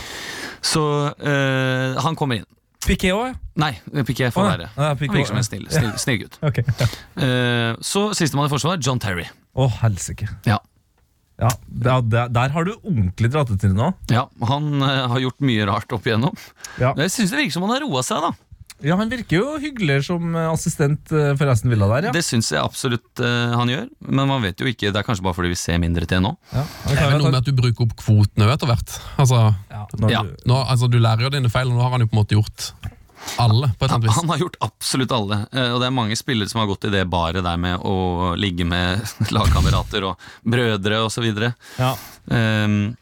Speaker 8: Så eh, han kommer inn.
Speaker 4: Piquet òg, ja.
Speaker 8: Nei, Piquet får
Speaker 4: Å, ja.
Speaker 8: være.
Speaker 4: Ja,
Speaker 8: Han
Speaker 4: Piquet
Speaker 8: virker som en
Speaker 4: også,
Speaker 8: snill, snill, snill gutt.
Speaker 4: Ok. Ja.
Speaker 8: Eh, så sistemann i forsvar, John Terry.
Speaker 4: Å, helsike.
Speaker 8: Ja.
Speaker 4: Ja, der, der, der har du ordentlig dratetryne òg.
Speaker 8: Ja, han eh, har gjort mye rart opp igjennom.
Speaker 4: Ja.
Speaker 8: Men Jeg synes det virker som han har roa seg, da.
Speaker 4: Ja, han virker jo hyggelig som eh, assistent eh, for Aston Villa der, ja.
Speaker 8: Det syns jeg absolutt eh, han gjør, men man vet jo ikke. Det er kanskje bare fordi vi ser mindre til nå.
Speaker 4: ja. han
Speaker 7: Det
Speaker 4: kan
Speaker 7: er
Speaker 4: jo
Speaker 8: altså-
Speaker 7: vel noe med
Speaker 4: ta-
Speaker 7: at du bruker opp kvotene jo etter hvert. Altså,
Speaker 4: Ja, når
Speaker 8: Ja.
Speaker 4: du-
Speaker 7: nå, altså, du lærer jo dine feil, og nå har han jo på en måte gjort alle. på et eller annet vis.
Speaker 8: Han har gjort absolutt alle, eh, og det er mange spillere som har gått i det baret der med å ligge med lagkamerater og brødre osv.
Speaker 4: Ja.
Speaker 8: Um,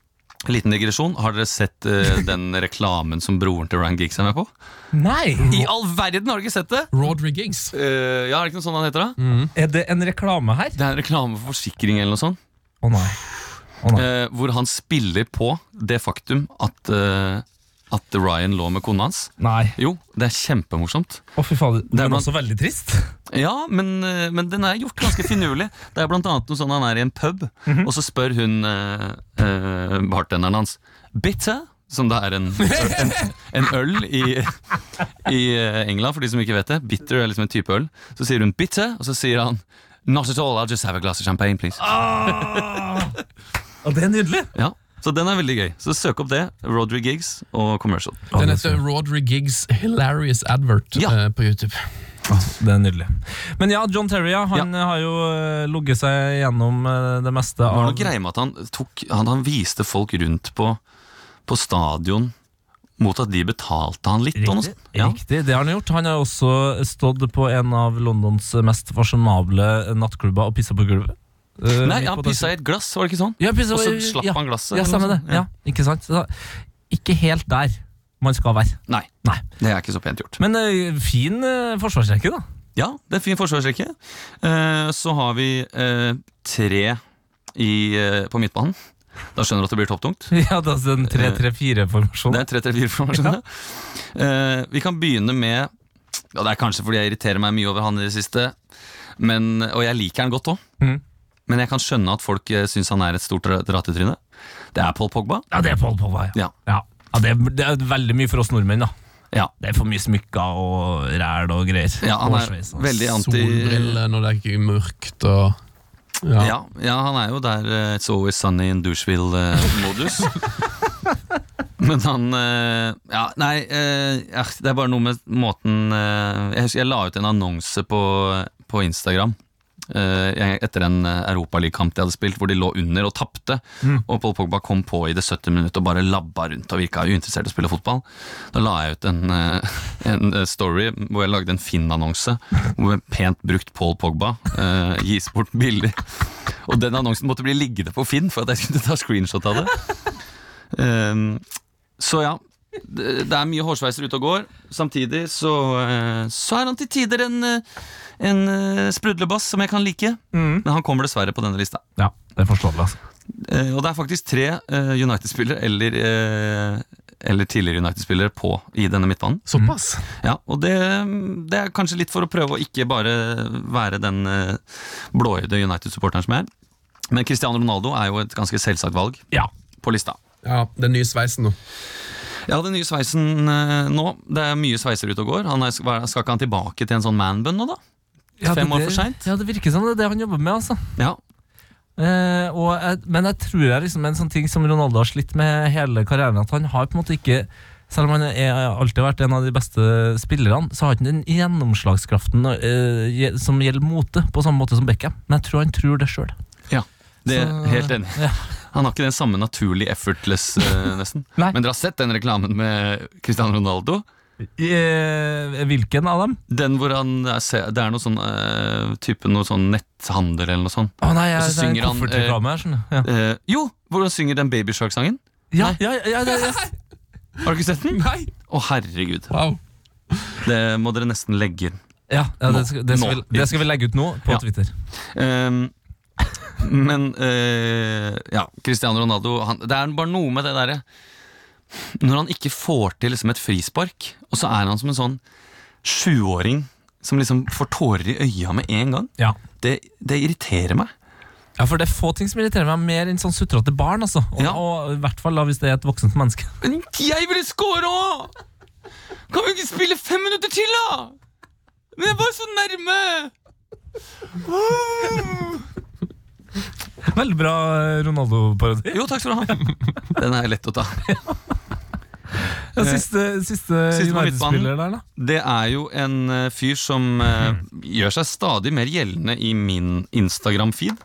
Speaker 8: liten digresjon. Har dere sett eh, den reklamen som broren til Ryan Giggs er med på?
Speaker 4: Nei!
Speaker 8: I all verden har dere ikke sett det!
Speaker 7: Rodri Giggs.
Speaker 8: Eh, ja, er det ikke noe sånn han heter, da?
Speaker 4: Er det en reklame her?
Speaker 8: Det er en reklame for forsikring eller noe sånt.
Speaker 4: Å nei. Å nei.
Speaker 8: Eh, hvor han spiller på det faktum at, eh, at Ryan lå med kona hans.
Speaker 4: Nei.
Speaker 8: Jo, det er kjempemorsomt.
Speaker 4: Å, fy fader.
Speaker 8: er
Speaker 4: Men
Speaker 8: man-
Speaker 4: også veldig trist.
Speaker 8: Ja, men, eh, men den er gjort ganske finurlig. Det er blant annet noe sånn han er i en pub, og så spør hun eh, eh, bartenderen hans Bitter? Som da er en, en, en øl i, i eh, England, for de som ikke vet det. Bitter er liksom en type øl. Så sier hun bitter, og så sier han Not at all, I'll just have a glass of champagne, please. Ah!
Speaker 4: Og det er nydelig.
Speaker 8: Ja, så den er veldig gøy. Så søk opp det. Rodry Giggs og Commercial.
Speaker 7: Den heter Rodri Giggs Hilarious Advert
Speaker 8: Ja.
Speaker 7: eh, på YouTube.
Speaker 4: Det er nydelig. Men ja, John Terry ja, han eh, har jo eh, ligget seg gjennom eh, det meste
Speaker 8: Det var
Speaker 4: av
Speaker 8: noe greie med at han, tok, han, han viste folk rundt på, på stadion mot at de betalte han litt. og noe sånt. Ja.
Speaker 4: Riktig, det har han gjort. Han har også stått på en av Londons mest fasjonable eh, nattklubber og pissa på gulvet. Eh,
Speaker 8: Nei,
Speaker 4: midt
Speaker 8: han
Speaker 4: på
Speaker 8: pissa i et glass, var det ikke sånn?
Speaker 4: Ja, pissa-
Speaker 8: Og så slapp
Speaker 4: ja.
Speaker 8: han liksom sånn, glasset.
Speaker 4: Ja,
Speaker 8: eller
Speaker 4: stemmer
Speaker 8: noe
Speaker 4: det.
Speaker 8: sånt.
Speaker 4: Ja, ikke sant? Så, ikke helt der man skal være.
Speaker 8: Nei,
Speaker 4: Nei.
Speaker 8: det er ikke så pent gjort.
Speaker 4: Men eh, fin eh, forsvarsrekke, da.
Speaker 8: Ja, det er en fin forsvarsrekke. Eh, så har vi eh, tre i, eh, på midtbanen. Da skjønner du at det blir topptungt.
Speaker 4: Ja, det er altså en 3-3-4-formasjon.
Speaker 8: Det er 3-3-4-formasjonen. Eh, vi kan begynne med ja, Det er kanskje fordi jeg irriterer meg mye over han i det siste, men, og jeg liker han godt òg.
Speaker 4: Mhm.
Speaker 8: Men jeg kan skjønne at folk eh, syns han er et stort dra- drattetryne. Det er Paul Pogba.
Speaker 4: Ja, det er Paul Pogba, ja.
Speaker 8: Ja.
Speaker 4: ja. ja det, er, det er veldig mye for oss nordmenn, da.
Speaker 8: Ja.
Speaker 4: Det er for mye smykker og ræl og greier.
Speaker 8: Ja, han
Speaker 4: Og
Speaker 8: er
Speaker 4: sveis, altså.
Speaker 8: veldig anti
Speaker 7: Solbriller når det er ikke mørkt og ja.
Speaker 8: ja, ja, han er jo der eh, It's always sunny in Doucheville-modus. Men han eh, Ja, nei, eh, ja, det er bare noe med måten eh, Jeg husker jeg la ut en annonse på, på Instagram. eh, jeg- etter en eh, Europaligakamp de hadde spilt, hvor de lå under og tapte. Og Paul Pogba kom på i det 70 minutt og bare labba rundt og virka uinteressert i å spille fotball. Da la jeg ut en, eh, en eh, story hvor jeg lagde en Finn-annonse hvor pent brukt Paul Pogba eh, gis bort billig. Og den annonsen måtte bli liggende på Finn for at jeg skulle ta screenshot av det. Ehm, så ja, det, det er mye hårsveiser ute og går. Samtidig så, eh, så er han til tider en, eh, en eh, sprudlebass som jeg kan like. Men han kommer dessverre på denne lista.
Speaker 4: Ja, det er forståelig, altså.
Speaker 8: Eh, og det er faktisk tre eh, United-spillere eller, eh, eller tidligere United-spillere på i denne midtbanen.
Speaker 5: Såpass.
Speaker 8: Ja, og det, det er kanskje litt for å prøve å ikke bare være den eh, blåøyde United-supporteren som jeg er. Men Cristiano Ronaldo er jo et ganske selvsagt valg
Speaker 4: Ja.
Speaker 8: på lista.
Speaker 7: ja, den nye sveisen nå.
Speaker 8: Ja, den nye sveisen eh, nå. Det er mye sveiser ute og går. Han er, skal ikke han tilbake til en sånn man-bun nå, da? Fem år for sent?
Speaker 4: Ja, det virker sånn. Det er det han jobber med, altså.
Speaker 8: Ja.
Speaker 4: Eh, og jeg, men jeg tror jeg liksom en sånn ting som Ronaldo har slitt med hele karrieren, at han har på en måte ikke selv om han er, alltid har vært en av de beste spillerne, så har han ikke den gjennomslagskraften eh, gje- som gjelder mote, på samme måte som Beckham. Men jeg tror han tror det sjøl.
Speaker 8: Det er
Speaker 4: Så-
Speaker 8: Helt enig.
Speaker 4: ja.
Speaker 8: Han har ikke den samme naturlig effortless, eh, nesten.
Speaker 4: Nei.
Speaker 8: Men dere har sett den reklamen med Cristiano Ronaldo?
Speaker 4: Eh, hvilken av dem?
Speaker 8: Den hvor han er, se- Det er noe sånn eh, type noe sånn netthandel eller noe sånt.
Speaker 4: Å nei, jeg,
Speaker 8: Og
Speaker 4: det er
Speaker 8: så
Speaker 4: en
Speaker 8: synger han, eh,
Speaker 4: koffertreklame her, skjønner du.
Speaker 8: Eh, jo, hvor han synger den Baby Shark-sangen.
Speaker 4: Ja, ja, ja, ja, ja, ja.
Speaker 8: Har du ikke sett den?
Speaker 7: Nei.
Speaker 8: Å, herregud.
Speaker 7: Wow.
Speaker 8: Det må dere nesten legge inn.
Speaker 4: ja, ja det, skal, det, skal
Speaker 8: Nå.
Speaker 4: vi, det skal vi legge ut nå på
Speaker 8: Ja.
Speaker 4: Twitter.
Speaker 8: Ehm, men eh, ja, Cristiano Ronaldo han, Det er bare noe med det derre Når han ikke får til liksom, et frispark, og så er han som en sånn sjuåring som liksom får tårer i øya med en gang.
Speaker 4: Ja.
Speaker 8: Det, det irriterer meg.
Speaker 4: ja, for det er få ting som irriterer meg mer enn sånn sutrete barn, altså. Og,
Speaker 8: Ja.
Speaker 4: og i hvert fall da, hvis det er et voksent menneske.
Speaker 8: Men jeg ville score òg! Kan vi ikke spille fem minutter til, da? Men jeg var så nærme!
Speaker 4: Veldig bra eh, Ronaldo-parodi.
Speaker 8: Jo, takk skal du ha. Den er lett å ta.
Speaker 4: Ja, siste siste,
Speaker 8: Siste på
Speaker 4: United-spiller der, da.
Speaker 8: Det er jo en eh, fyr som eh, gjør seg stadig mer gjeldende i min Instagram-feed.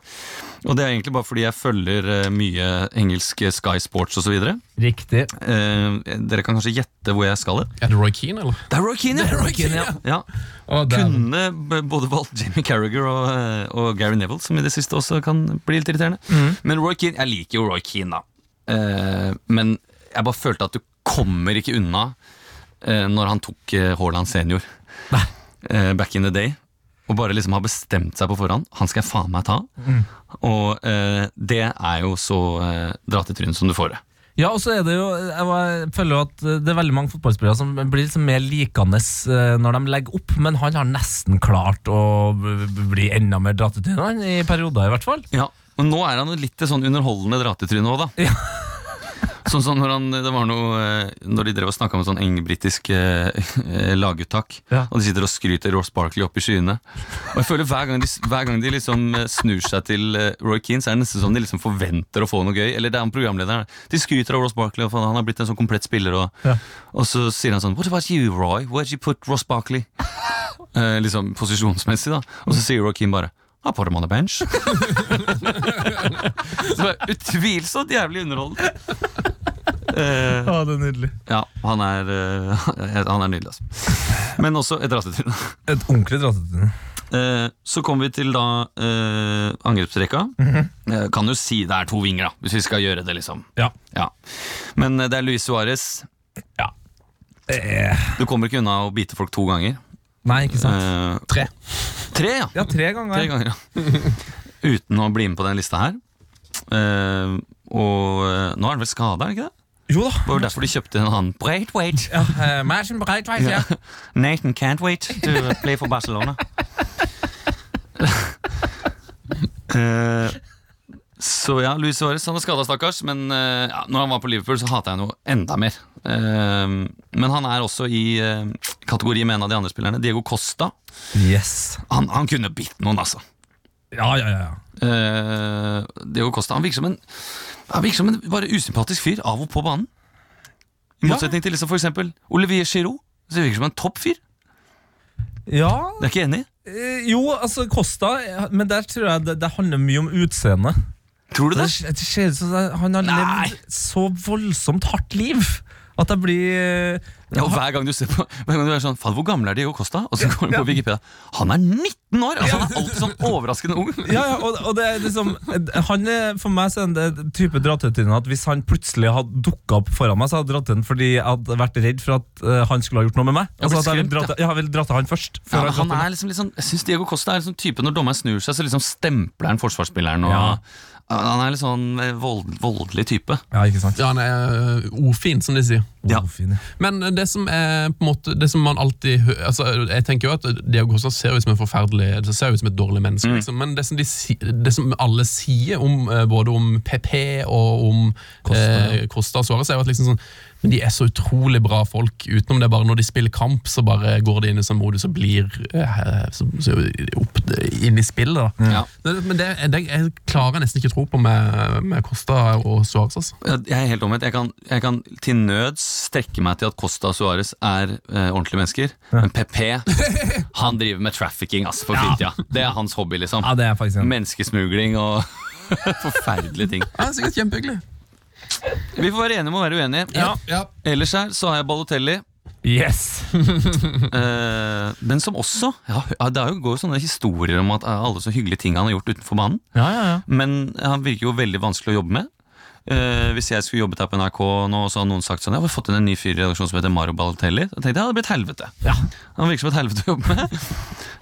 Speaker 8: Og det er egentlig bare fordi jeg følger eh, mye engelsk eh, Sky Sports osv. Eh,
Speaker 4: Riktig.
Speaker 8: dere kan kanskje gjette hvor jeg skal? hen?
Speaker 7: Er det Roy Keane, eller?
Speaker 8: Det er Roy Keane! ja. Ja,
Speaker 7: Å, der.
Speaker 8: Kunne b- både valgt Jimmy Carragher og, eh, og Gary Neville, som i det siste også kan bli litt irriterende. Men Roy Keane, jeg liker jo Roy Keane, da. Eh, men jeg bare følte at du kommer ikke unna eh, når han tok eh, Haaland senior eh, back in the day. Og bare liksom har bestemt seg på forhånd. Han skal jeg faen meg ta. Og eh, det er jo så eh, dra til trynet som du får det.
Speaker 4: Ja, og så er det jo Jeg var- jeg føler jo at eh, det er veldig mange fotballspillere som blir liksom mer likende eh, når de legger opp, men han har nesten klart å b- b- bli enda mer dratt ut i den, han, i perioder, i hvert fall.
Speaker 8: Ja, men nå er han jo litt det sånn underholdende dratetryne òg, da. sånn som når han, det var noe eh, Når de drev og snakka om sånn engbritisk eh, eh, laguttak,
Speaker 4: Ja.
Speaker 8: og de sitter og skryter Ross Barkley opp i skyene. Og jeg føler hver gang de, hver gang de liksom eh, snur seg til eh, Roy Keane, så er det nesten som de liksom forventer å få noe gøy. Eller det er han programlederen. De skryter av Ross Barkley, og faen, han har blitt en sånn komplett spiller. Og,
Speaker 4: Ja.
Speaker 8: og så sier han sånn What about you, Roy? Where'd you put Ross Barkley? eh, liksom posisjonsmessig, da. Og så sier Rakeem bare I put him on the bench. så det er utvilsomt jævlig underholdende. Eh,
Speaker 4: Å, det er nydelig.
Speaker 8: ja, han er, eh, han er nydelig, altså. Men også et rassetryne.
Speaker 4: Et ordentlig drattetun.
Speaker 8: Eh, Så kommer vi til da eh, angrepsrekka. Eh, Kan jo si det er to vinger, da, hvis vi skal gjøre det, liksom.
Speaker 4: Ja.
Speaker 8: Ja. Men eh, det er Luis Suárez.
Speaker 4: Eh,
Speaker 8: Du kommer ikke unna å bite folk to ganger.
Speaker 4: nei, ikke sant?
Speaker 8: Eh,
Speaker 4: Tre.
Speaker 8: Tre, ja.
Speaker 4: Ja, tre ganger.
Speaker 8: Tre ganger, ja. Uten å bli med på den lista her. Eh, og eh, nå er han vel skada, er han ikke det?
Speaker 4: Jo da.
Speaker 8: Det var jo derfor de kjøpte en annen. Wait, wait.
Speaker 4: Ja, eh, Madsen Breitweit, ja.
Speaker 8: Nathan can't wait to play for Barcelona. Eh, så ja, Luis Suárez han er skada, stakkars. Men eh, ja, når han var på Liverpool, så hata jeg noe enda mer. Eh, men han er også i eh, kategori med en av de andre spillerne. Diego Costa.
Speaker 4: Yes.
Speaker 8: Han, han kunne bitt noen, altså.
Speaker 4: Ja, ja, ja.
Speaker 8: Eh, Diego Costa han virker som en Han virker som en bare usympatisk fyr av og på banen. I motsetning til liksom for eksempel Olivier Giroud. Så virker som en topp fyr.
Speaker 4: Ja,
Speaker 8: Det er jeg ikke enig i.
Speaker 4: eh, jo, altså Kosta Men der tror jeg det, det handler mye om utseendet.
Speaker 8: Tror du
Speaker 4: Det,
Speaker 8: det?
Speaker 4: det ser ut som det- han har
Speaker 8: Nei.
Speaker 4: levd så voldsomt hardt liv at jeg blir eh,
Speaker 8: Ja, og hver gang du ser på Hver gang du er sånn Faen, hvor gammel er Diego Costa? Og så går du på Wikipedia. Han er 19 år! Altså, han er alltid sånn overraskende ung.
Speaker 4: Ja, ja, og, og det er liksom han er, For meg så er det en type drattetryne at hvis han plutselig hadde dukka opp foran meg, så hadde jeg dratt den fordi jeg hadde vært redd for at eh, han skulle ha gjort noe med meg.
Speaker 8: Ja, blir
Speaker 4: Altså, at jeg ville
Speaker 8: skremt,
Speaker 4: dratt, ja, jeg ville dratt til han først. før
Speaker 8: Ja,
Speaker 4: jeg
Speaker 8: men
Speaker 4: dratt
Speaker 8: han
Speaker 4: til meg.
Speaker 8: er liksom litt sånn Jeg syns Diego Costa er liksom typen når dommeren snur seg, så liksom stempler han forsvarsspilleren. Og,
Speaker 4: Ja.
Speaker 8: Han er litt sånn eh, vold, voldelig type.
Speaker 4: ja, ikke sant?
Speaker 7: Ja, han er øh, ordfin, som de sier.
Speaker 8: Ja.
Speaker 4: Oh, fin, ja.
Speaker 7: Men det som er på en måte Det som man alltid hø- altså, Jeg tenker jo at Diego Costa ser ut som en forferdelig Det ser ut som et dårlig menneske, liksom. men det som, de, si- det som alle sier om eh, både om PP og om Costa, eh, Costa og Suárez, er jo at liksom sånn men de er så utrolig bra folk. Utenom det bare når de spiller kamp, så bare går de inn i sånn modus og blir eh, så, så opp inn i spillet. da.
Speaker 8: Ja.
Speaker 7: Men men det, det jeg klarer jeg nesten ikke tro på med, med Costa og Suárez. Altså.
Speaker 8: Ja, Jeg er helt omvendt. Jeg kan, jeg kan til nøds strekke meg til at Costa og Suárez er eh, ordentlige mennesker. Men PP han driver med trafficking ass, for fritida. Det er hans hobby. liksom
Speaker 4: ja, det er faktisk en
Speaker 8: Menneskesmugling og forferdelige ting.
Speaker 7: Ja, det er sikkert kjempehyggelig.
Speaker 8: Vi får være enige om å være uenige.
Speaker 7: Ja.
Speaker 8: Ellers her så har jeg Balotelli.
Speaker 4: Yes!
Speaker 8: Eh, den som også ja, ja, Det er jo- går jo sånne historier om at eh, alle så hyggelige ting han har gjort utenfor banen.
Speaker 4: Ja, ja, ja.
Speaker 8: Men han virker jo veldig vanskelig å jobbe med. Eh, hvis jeg skulle jobbet her på NRK nå, så hadde noen sagt sånn Jeg har fått inn en ny fyr i redaksjonen som heter Mario Balotelli. Da tenkte jeg, ja, det blir et helvete. Han virker som et helvete å jobbe med.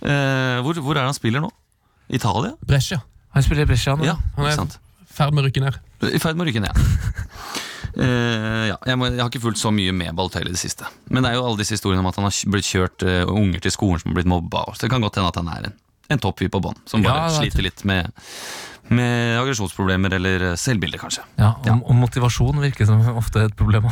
Speaker 8: Eh, hvor, hvor er det han spiller nå? Italia?
Speaker 7: Brescia.
Speaker 4: Han spiller i Brescia nå.
Speaker 8: Ja,
Speaker 7: han er-
Speaker 8: ikke sant?
Speaker 7: Ferd med å rykke ned.
Speaker 8: I ferd med å rykke ned. Eh, ja, jeg, må, jeg har ikke fulgt så mye med Balotelli i det siste. Men det er jo alle disse historiene om at han har kj- blitt kjørt eh, unger til skolen som har blitt mobba. og Så det kan godt hende at han er en, en toppfyr på bånn, som bare
Speaker 4: Ja, det er
Speaker 8: sliter litt med, med aggresjonsproblemer eller eh, selvbilde, kanskje.
Speaker 4: Ja, og, og motivasjon virker som ofte et problem.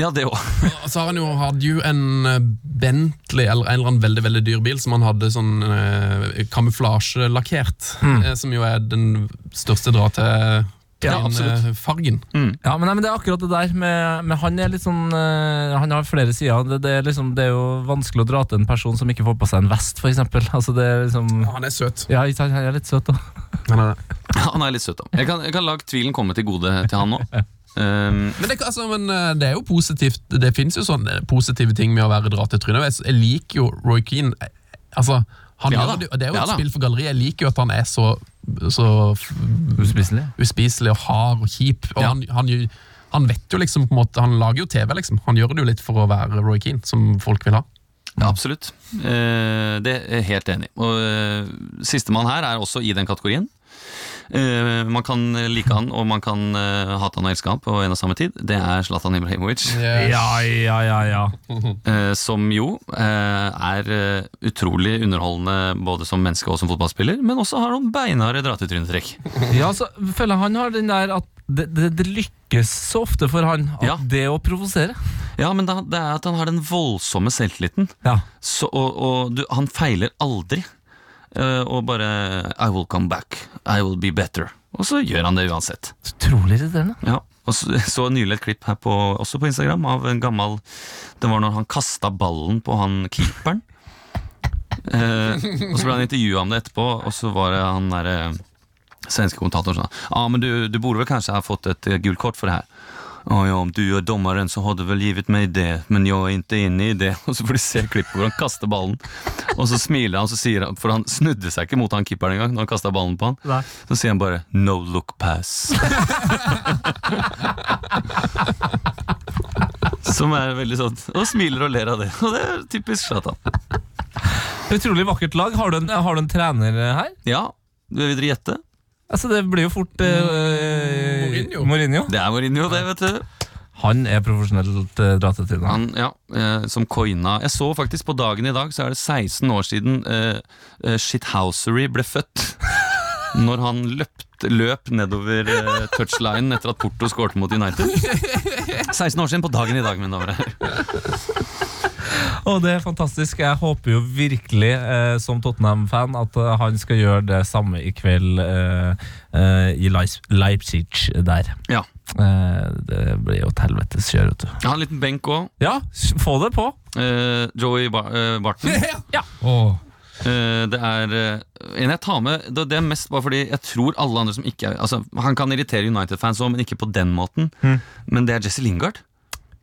Speaker 8: Ja, det òg.
Speaker 7: Og så har han jo, hadde jo en eh, Bentley eller en eller annen veldig veldig dyr bil som han hadde sånn eh, kamuflasjelakkert, eh, som jo er den største dra til
Speaker 4: Ja,
Speaker 7: den,
Speaker 4: absolutt.
Speaker 7: eh, fargen.
Speaker 4: Ja, men, nei, men det er akkurat det der med, med Han er litt sånn eh, Han har flere sider. Det, det, er liksom, det er jo vanskelig å dra til en person som ikke får på seg en vest, f.eks. Altså, det er liksom
Speaker 7: Ja, han er søt.
Speaker 4: Ja, ikke sant? Han er litt søt, da.
Speaker 7: Han er det.
Speaker 8: Han er litt søt, da. Jeg kan, jeg kan la tvilen komme til gode til han nå. Um,
Speaker 7: Men, det, altså, men eh, det er jo positivt. Det fins jo sånne positive ting med å være dra til trynet. Jeg, jeg liker jo Roy Keane. Eh, Altså, han
Speaker 8: Ja da.
Speaker 7: gjør det, jo- det er jo
Speaker 8: Ja
Speaker 7: et
Speaker 8: da.
Speaker 7: spill for galleriet. Jeg liker jo at han er så, så
Speaker 4: Uspiselig.
Speaker 7: uspiselig og hard og kjip. Og
Speaker 4: Ja.
Speaker 7: han, han, jo- han vet jo liksom på en måte, han lager jo TV, liksom. Han gjør det jo litt for å være Roy Keane, som folk vil ha.
Speaker 8: ja, absolutt. Eh, det er jeg helt enig i. Og eh, sistemann her er også i den kategorien. Eh, man kan like han, og man kan eh, hate han og elske han på en og samme tid. Det er Zlatan Ibrahimovic.
Speaker 4: Ja, ja, ja, ja.
Speaker 8: eh, som jo eh, er eh, utrolig underholdende både som menneske og som fotballspiller, men også har noen beinharde dra-til-trynet-trekk.
Speaker 4: ja så føler jeg han har den der at det, det, det lykkes så ofte for han at
Speaker 8: Ja.
Speaker 4: det å provosere.
Speaker 8: Ja, men da, det er at han har den voldsomme selvtilliten.
Speaker 4: Ja.
Speaker 8: Så, og og du, han feiler aldri. Eh, og bare I will come back. I will be better. Og så gjør han det uansett.
Speaker 4: Utrolig irriterende.
Speaker 8: Ja. Og så, så nylig et klipp her på, også på Instagram av en gammel Det var når han kasta ballen på han keeperen. Eh, og så ble han intervjua om det etterpå, og så var det han der eh, svenske kommentatoren sånn Ja, men du, du borde vel kanskje ha fått et eh, gult kort for det her. Ja, ja, om du er dommeren så har du vel givet meg det, men jeg er ikke inne i det. Og så får du se klippet hvor han kaster ballen, og så smiler han, så sier han for han snudde seg ikke mot han keeperen engang når han kasta ballen på han.
Speaker 4: Nei.
Speaker 8: Så sier han bare 'no look pass'. Som er veldig sånn Og smiler og ler av det. Og det er typisk Zlatan.
Speaker 4: Utrolig vakkert lag. Har du en, har du en trener her?
Speaker 8: Ja, vil dere gjette?
Speaker 4: Altså, det blir jo fort eh,
Speaker 7: Mourinho.
Speaker 8: Det er Mourinho, det, vet du.
Speaker 4: Han er profesjonelt eh, dratt til. Han.
Speaker 8: Han, ja, eh, som coina Jeg så faktisk på dagen i dag, så er det 16 år siden eh, eh, Shithousery ble født. Når han løpt, løp nedover eh, touchlinen etter at Porto skårte mot United. 16 år siden på dagen i dag, mine damer og herrer.
Speaker 4: Og det er fantastisk. Jeg håper jo virkelig, eh, som Tottenham-fan, at eh, han skal gjøre det samme i kveld eh, eh, i Leis- Leipzig der.
Speaker 8: Ja.
Speaker 4: Eh, det blir jo et helvetes kjør, vet du.
Speaker 8: Jeg har en liten benk òg.
Speaker 4: Ja, s- få det på!
Speaker 8: Eh, Joey Bar eh, Barton. Eh, det er eh, en jeg tar med det, det er mest bare fordi jeg tror alle andre som ikke er altså, Han kan irritere United-fans òg, men ikke på den måten. Men det er Jesse Lingard.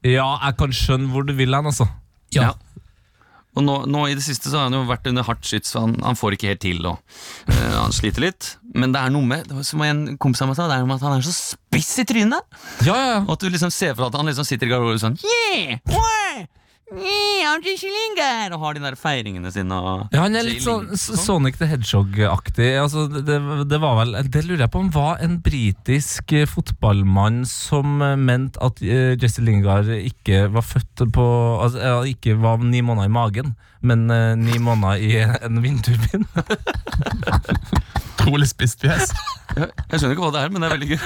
Speaker 4: Ja, jeg kan skjønne hvor du vil hen, altså.
Speaker 7: Ja.
Speaker 8: Og nå, nå i det siste så har han jo vært under hardt skyts, så han, han får ikke helt til. Og, eh, han sliter litt. Men det er noe med det var som en kompis av meg sa, det er noe med at han er så spiss i trynet.
Speaker 4: Ja, ja, ja.
Speaker 8: Og at du liksom ser for deg at han liksom sitter i garderoben sånn yeah, wow, yeah, I'm Jesse Lingard, Og har de der feiringene sine og
Speaker 4: Ja, han er litt sånn S- Sonic the Hedgehog-aktig. Altså, det, det- det var vel Det lurer jeg på om var en britisk eh, fotballmann som eh, mente at eh, Jesse Lingard ikke var født på Altså eh, ikke var ni måneder i magen, men eh, ni måneder i en vindturbin.
Speaker 7: Trolig spist fjes.
Speaker 8: Jeg, jeg skjønner ikke hva det er, men det er veldig gøy.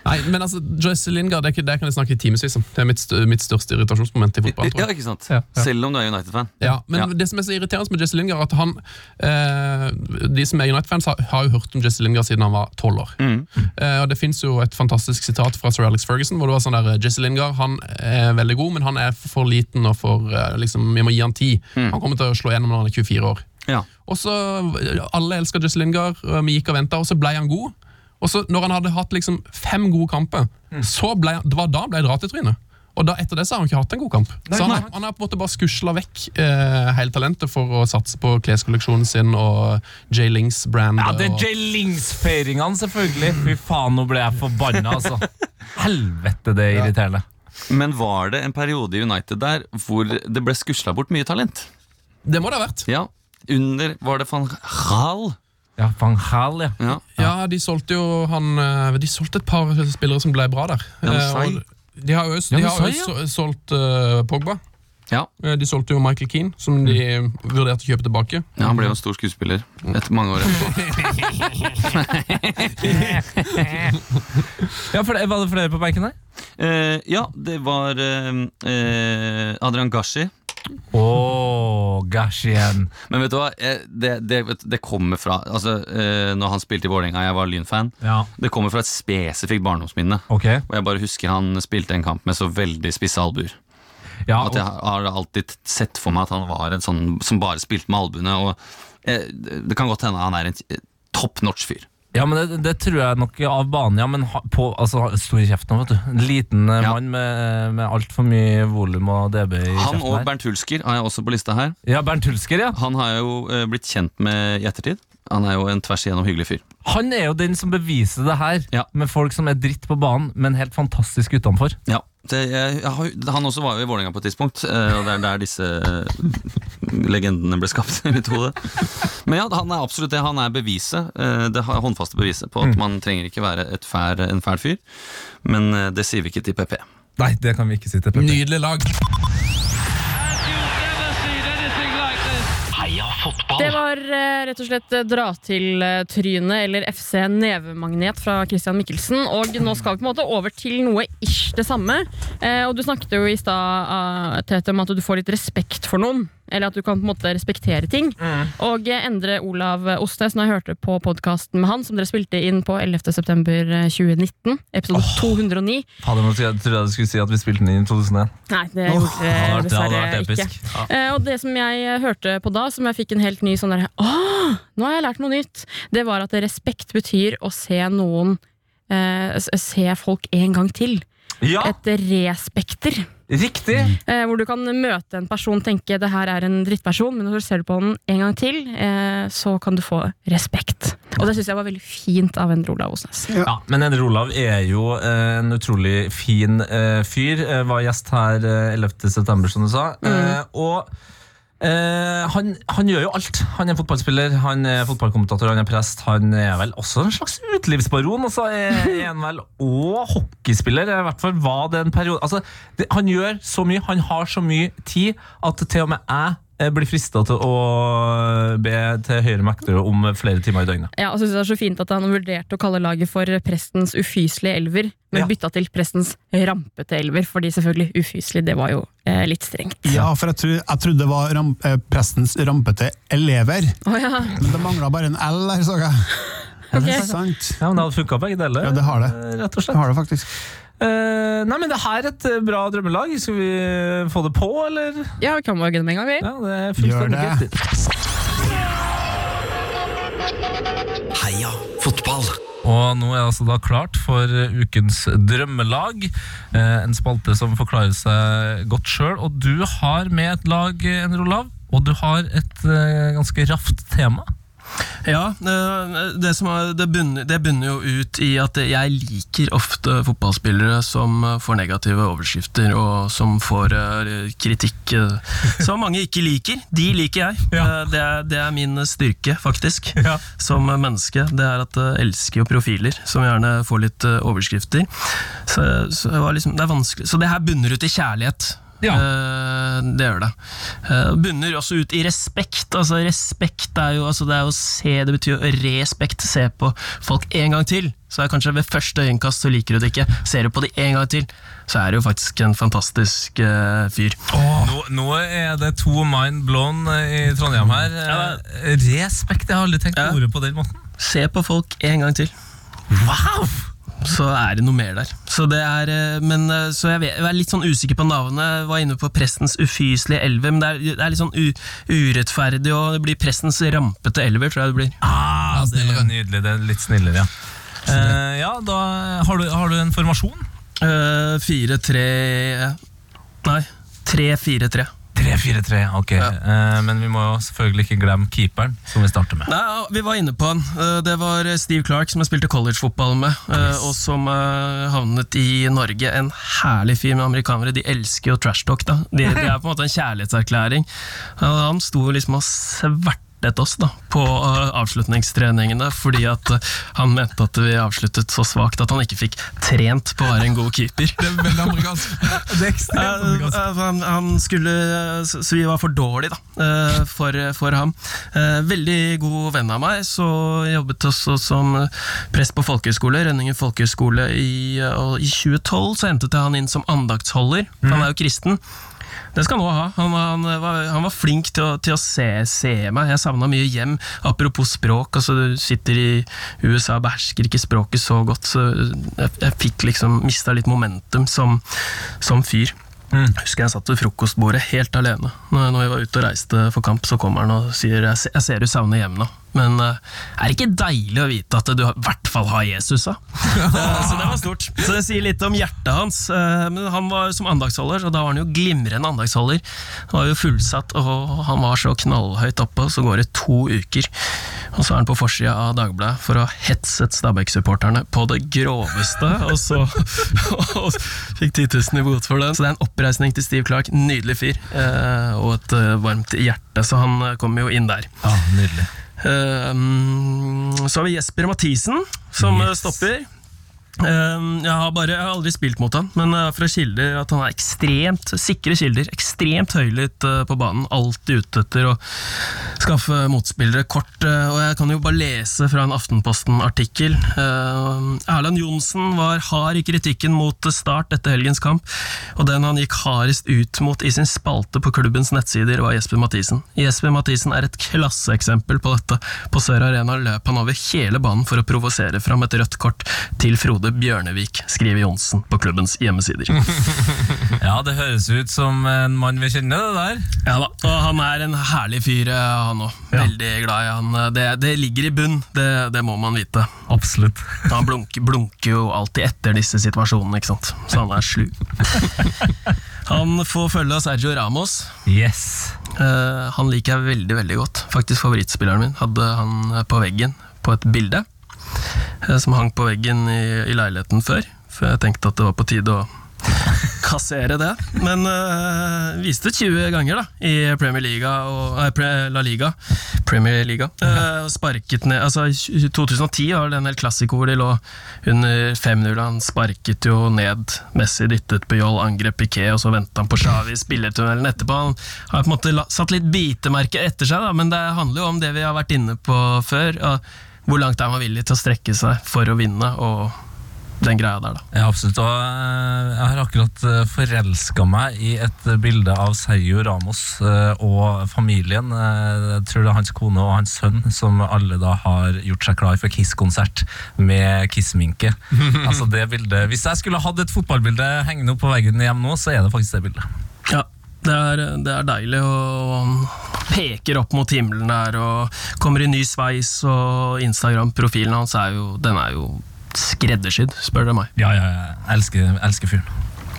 Speaker 7: Nei, men altså, Joyce Lingard det, er ikke- det kan jeg snakke i timevis om. Det er mitt, st- mitt største irritasjonsmoment i fotball. tror
Speaker 8: Ja,
Speaker 7: jeg.
Speaker 8: ikke sant?
Speaker 7: Ja, ja.
Speaker 8: Selv om du er United-fan.
Speaker 7: Ja, men
Speaker 8: Ja.
Speaker 7: det som er så irriterende med Jesse Lingard, er at han eh, De som er United-fans, har, har jo hørt om Jesse Lingard siden han var tolv år. Eh, og Det fins jo et fantastisk sitat fra sir Alex Ferguson, hvor det var sånn der Jesse Lingard han er veldig god, men han er for liten og for eh, liksom, Vi må gi han tid. Han kommer til å slå gjennom når han er 24 år.
Speaker 8: Ja.
Speaker 7: Og så, Alle elsker Jesse Lingard, og vi gikk og venta, og så ble han god. Og så Når han hadde hatt liksom fem gode kamper,
Speaker 4: Mm.
Speaker 7: så ble han, det var da ble det ratetrynet. Og da, Etter det så har han ikke hatt en god kamp. så han, han har på en måte bare skusla vekk eh, hele talentet for å satse på kleskolleksjonen sin og J. Lings brand.
Speaker 4: Ja, det er
Speaker 7: og-
Speaker 4: Jay Lings-feiringene, selvfølgelig! Fy faen, nå ble jeg forbanna, altså. Helvete, det er irriterende.
Speaker 8: Men var det en periode i United der hvor det ble skusla bort mye talent?
Speaker 7: det må det ha vært.
Speaker 8: Ja. Under Var det van Gaal?
Speaker 4: Ja, Van Gaal, ja.
Speaker 8: Ja.
Speaker 7: Ja, de solgte jo han eh, De solgte et par spillere som ble bra der.
Speaker 8: Ja, men
Speaker 7: Eh,
Speaker 8: Sai.
Speaker 7: og de har jo, også- de
Speaker 4: men
Speaker 7: har
Speaker 4: Sai, ja.
Speaker 7: jo so- solgt eh, Pogba.
Speaker 8: ja.
Speaker 7: Eh, De solgte jo Michael Keane, som de
Speaker 4: Mm.
Speaker 7: vurderte å kjøpe tilbake.
Speaker 8: Ja, Han ble jo en stor skuespiller etter mange år. etterpå.
Speaker 4: ja for det, var det flere på benken her?
Speaker 8: Eh, ja, det var eh, eh, Adrian Gashi.
Speaker 4: Å, gosh igjen.
Speaker 8: Men vet du hva, eh, det, det, vet du, det kommer fra Altså, eh, når han spilte i Vålerenga, jeg var Lyn-fan.
Speaker 4: Ja,
Speaker 8: Det kommer fra et spesifikt barndomsminne.
Speaker 4: ok.
Speaker 8: Og jeg bare husker han spilte en kamp med så veldig spisse albuer.
Speaker 4: Ja,
Speaker 8: At jeg har alltid sett for meg at han var en sånn som bare spilte med albuene. Og eh, det kan godt hende han er en eh, top notch fyr.
Speaker 4: Ja, men det, det tror jeg nok av banen, ja. Men ha, på, altså, stor i kjeften òg, vet du. En liten eh,
Speaker 8: Ja.
Speaker 4: mann med, med altfor mye volum og DB i
Speaker 8: Han
Speaker 4: kjeften.
Speaker 8: og
Speaker 4: her.
Speaker 8: Bernt Hulsker har jeg også på lista her.
Speaker 4: ja, Bernt Hulsker, ja.
Speaker 8: Han har jeg jo eh, blitt kjent med i ettertid. Han er jo en tvers igjennom hyggelig fyr.
Speaker 4: Han er jo den som beviser det her,
Speaker 8: Ja.
Speaker 4: med folk som er dritt på banen, men helt fantastisk utenfor.
Speaker 8: Ja, det, jeg, jeg, har- han også var jo i Vålerenga på et tidspunkt, eh, og det er der disse eh, legendene ble skapt i mitt hode. Men ja, han er absolutt det. Han er beviset, eh, det har- håndfaste beviset på at man trenger ikke være et fær, en fæl fyr. Men eh, det sier vi ikke til PP.
Speaker 4: Nei, det kan vi ikke si til
Speaker 7: Nydelig lag.
Speaker 6: Det var eh, rett og slett eh, dra til eh, trynet eller FC Nevemagnet fra Christian Mikkelsen. Og nå skal vi på en måte over til noe ish det samme. Eh, og du snakket jo i stad eh, Tete, om at du får litt respekt for noen. Eller at du kan på en måte respektere ting.
Speaker 4: Mm.
Speaker 6: Og eh, Endre Olav Ostes, når jeg hørte på podkasten med han, som dere spilte inn på 11.9.2019, episode 209
Speaker 4: Fader, nå trodde jeg trodde jeg du skulle si at vi spilte den inn i 2001.
Speaker 6: Nei, det gjorde
Speaker 4: det
Speaker 6: dere
Speaker 4: hadde vært- det hadde
Speaker 6: Eh, dessverre
Speaker 4: vært
Speaker 6: ikke.
Speaker 4: episk. Ja.
Speaker 6: Eh, og det som jeg eh, hørte på da, som jeg fikk en helt ny sånn derre Åh, nå har jeg lært noe nytt! Det var at respekt betyr å se noen eh, s- Se folk en gang til.
Speaker 4: Ja,
Speaker 6: Et respekter.
Speaker 4: riktig!
Speaker 6: Eh, hvor du kan møte en person tenke det her er en drittperson, men når du ser på den en gang til, eh, så kan du få respekt. Og det syns jeg var veldig fint av Endre Olav Osnes.
Speaker 4: Ja, men Endre Olav er jo eh, en utrolig fin eh, fyr. Eh, var gjest her eh, 11. september, som du sa.
Speaker 5: Mm.
Speaker 4: Eh, og eh, han, han gjør jo alt. Han er fotballspiller, han er fotballkommentator, han er prest. Han er vel også en slags utelivsbaron, og så er er han vel òg hockeyspiller. I hvert fall var det en periode altså, det, Han gjør så mye, han har så mye tid, at til og med jeg eh, blir frista til å eh, be til høyere mektere om flere timer i døgnet.
Speaker 6: Ja, og synes det er så fint at han vurderte å kalle laget for Prestens ufyselige elver, men
Speaker 4: Ja.
Speaker 6: bytta til Prestens rampete elver, fordi selvfølgelig ufyselig, det var jo eh, litt strengt.
Speaker 5: Ja, for jeg, tror, jeg trodde det var ram, eh, prestens rampete elever.
Speaker 6: Å ja.
Speaker 5: Men det mangla bare en L der, så jeg.
Speaker 6: Ok.
Speaker 5: Sant.
Speaker 4: Ja, men det hadde funka begge deler.
Speaker 5: Ja, det har det.
Speaker 4: eh, Rett og
Speaker 5: Det
Speaker 4: slett.
Speaker 5: har det faktisk.
Speaker 4: Eh, nei, men det her er et eh, bra drømmelag. Skal vi eh, få det på, eller?
Speaker 6: ja, vi kan bare gunne med en gang, vi.
Speaker 4: Ja, det er
Speaker 5: Gjør
Speaker 4: fullstendig
Speaker 5: det.
Speaker 4: greit.
Speaker 3: Heia fotball!
Speaker 4: Og nå er det altså da klart for eh, ukens drømmelag. Eh, en spalte som forklarer seg godt sjøl. Og du har med et lag, eh, Endre Olav. Og du har et eh, ganske raft tema.
Speaker 9: Ja, eh, det, som er, det, bunner, det bunner jo ut i at jeg liker ofte fotballspillere som eh, får negative overskrifter, og som får eh, kritikk eh, som mange ikke liker. De liker jeg.
Speaker 4: Ja.
Speaker 9: Eh, Det, er, det er min styrke, faktisk,
Speaker 4: Ja.
Speaker 9: som menneske. Det er at jeg elsker jo profiler, som gjerne får litt eh, overskrifter. Så, så, det var liksom, det er vanskelig. så det her bunner ut i kjærlighet.
Speaker 4: Ja.
Speaker 9: Eh, det gjør det. Eh, bunner også ut i respekt. Altså Respekt er jo, altså, det er jo å se Det betyr jo respekt. Se på folk en gang til. Så er kanskje Ved første øyekast så liker du det ikke. Ser du på de en gang til, så er du jo faktisk en fantastisk eh, fyr.
Speaker 4: Nå, nå er det to mind blown eh, i Trondheim her. Eh, Respekt, jeg har aldri tenkt
Speaker 9: Ja.
Speaker 4: ordet på den måten.
Speaker 9: Se på folk en gang til.
Speaker 4: Wow!
Speaker 9: så er det noe mer der. Så, det er, eh, men, eh, så jeg, vet, jeg er litt sånn usikker på navnet. Jeg var inne på Prestens ufyselige elver, men det er, det er litt sånn u, urettferdig, og det blir Prestens rampete elver, tror jeg det blir.
Speaker 4: Ah, det er nydelig. Det er litt snillere, ja. Eh, ja, da har du, har du en formasjon?
Speaker 9: Eh, Fire, tre Nei, tre, fire, tre.
Speaker 4: 3-4-3, ok. Eh, men vi må jo selvfølgelig ikke glemme keeperen, som vi starter med.
Speaker 9: Nei, Vi var inne på han. Eh, Det var Steve Clark, som jeg spilte collegefotball med, eh, og som eh, havnet i Norge. En herlig fyr med amerikanere. De elsker jo trash talk. da. De- Det er på en måte en kjærlighetserklæring. Eh, Han sto liksom og svertet oss da, på eh, avslutningstreningene fordi at eh, han mente at vi avsluttet så svakt at han ikke fikk trent på å være en god keeper.
Speaker 7: Det er veldig amerikansk.
Speaker 9: Eh, eh, han, han skulle eh, Så så vi var for dårlige, da, eh, for, for ham. Eh, Veldig god venn av meg, så jobbet også som eh, prest på folkehøyskole, Rønningen folkehøyskole, i, eh, og i 2012. Så hentet jeg han inn som andaktsholder. Han er jo kristen. Det skal han òg ha. Han, var- han, var, han var flink til å, til å se, se meg. Jeg savna mye hjem. Apropos språk, altså du sitter i USA og behersker ikke språket så godt, så jeg, jeg fikk liksom mista litt momentum som, som fyr. Jeg husker jeg satt ved frokostbordet helt alene. Når, når jeg var ute og reiste for kamp, så kommer han og sier jeg, se- jeg ser du savner hjem nå. Men eh, er det ikke deilig å vite at du har- i hvert fall har Jesus, da? Eh, så det var stort. Så det sier litt om hjertet hans. eh, men han var som andagsholder, og da var han jo glimrende andagsholder. Han var jo fullsatt, og han var så knallhøyt oppe, og så går det to uker. Og så er han på forsida av Dagbladet for å ha hetset Stabæk-supporterne på det groveste, og så og fikk 10 000 i bot for den. Så det er en oppreisning til Steve Clark. Nydelig fyr, eh, og et eh, varmt hjerte, så han eh, kommer jo inn der.
Speaker 4: Ja, Ah, nydelig.
Speaker 9: Ehm, Eh, mm, Så har vi Jesper Mathisen som eh,
Speaker 4: Yes.
Speaker 9: stopper. Ehm, Jeg har, bare, jeg har aldri spilt mot han, men eh, fra kilder at han er ekstremt sikre kilder. Ekstremt høylytt eh, på banen. Alltid ute etter å skaffe motspillere kort. eh, Og jeg kan jo bare lese fra en Aftenposten-artikkel. Eh, Erland Johnsen var hard i kritikken mot Start etter helgens kamp, og den han gikk hardest ut mot i sin spalte på klubbens nettsider, var Jesper Mathisen. Jesper Mathisen er et klasseeksempel på dette. På Sør Arena løp han over hele banen for å provosere fram et rødt kort til Frode Bjørnevik, skriver Johnsen på klubbens hjemmesider.
Speaker 4: Ja, det høres ut som en mann vi kjenner, det der.
Speaker 9: Ja da, og han er en herlig fyr, eh, han òg. Veldig glad i han. eh, Det, det ligger i bunn, det, det må man vite.
Speaker 4: Absolutt.
Speaker 9: Han blunker, blunker jo alltid etter disse situasjonene, ikke sant? så han er slu. Han får følge av Sergio Ramos.
Speaker 4: Yes.
Speaker 9: Eh, han liker jeg veldig veldig godt. Faktisk favorittspilleren min. Hadde han eh, på veggen på et bilde eh, som hang på veggen i, i leiligheten før. For jeg tenkte at det var på tide å kassere det. Men eh, viste 20 ganger da i Premier Liga og nei, Pre- La Liga. Premier Liga. Eh, og sparket ned Altså, i 2010 var det en hel klassiker hvor de lå under 5-0. Han sparket jo ned Messi, dyttet Puyol, angrep Piquet, og så ventet han på Xavi i spillertunnelen etterpå. Han har på en måte la- satt litt bitemerke etter seg, da, men det handler jo om det vi har vært inne på før. Og hvor langt er man villig til å strekke seg for å vinne, og den greia der, da.
Speaker 4: Ja, absolutt. Og eh, jeg har akkurat eh, forelska meg i et eh, bilde av Sergio Ramos eh, og familien. Eh, Jeg tror det er hans kone og hans sønn som alle da har gjort seg klar for Kiss-konsert med Kiss-minke. altså det bildet. Hvis jeg skulle hatt et fotballbilde hengende opp på veggen hjemme nå, så er det faktisk det bildet.
Speaker 9: Ja, det er, det er deilig, og han peker opp mot himmelen der, og kommer i ny sveis, og Instagram-profilen hans er jo, den er jo skreddersydd, spør du meg.
Speaker 4: Ja, ja, ja. Jeg elsker, jeg elsker fyren.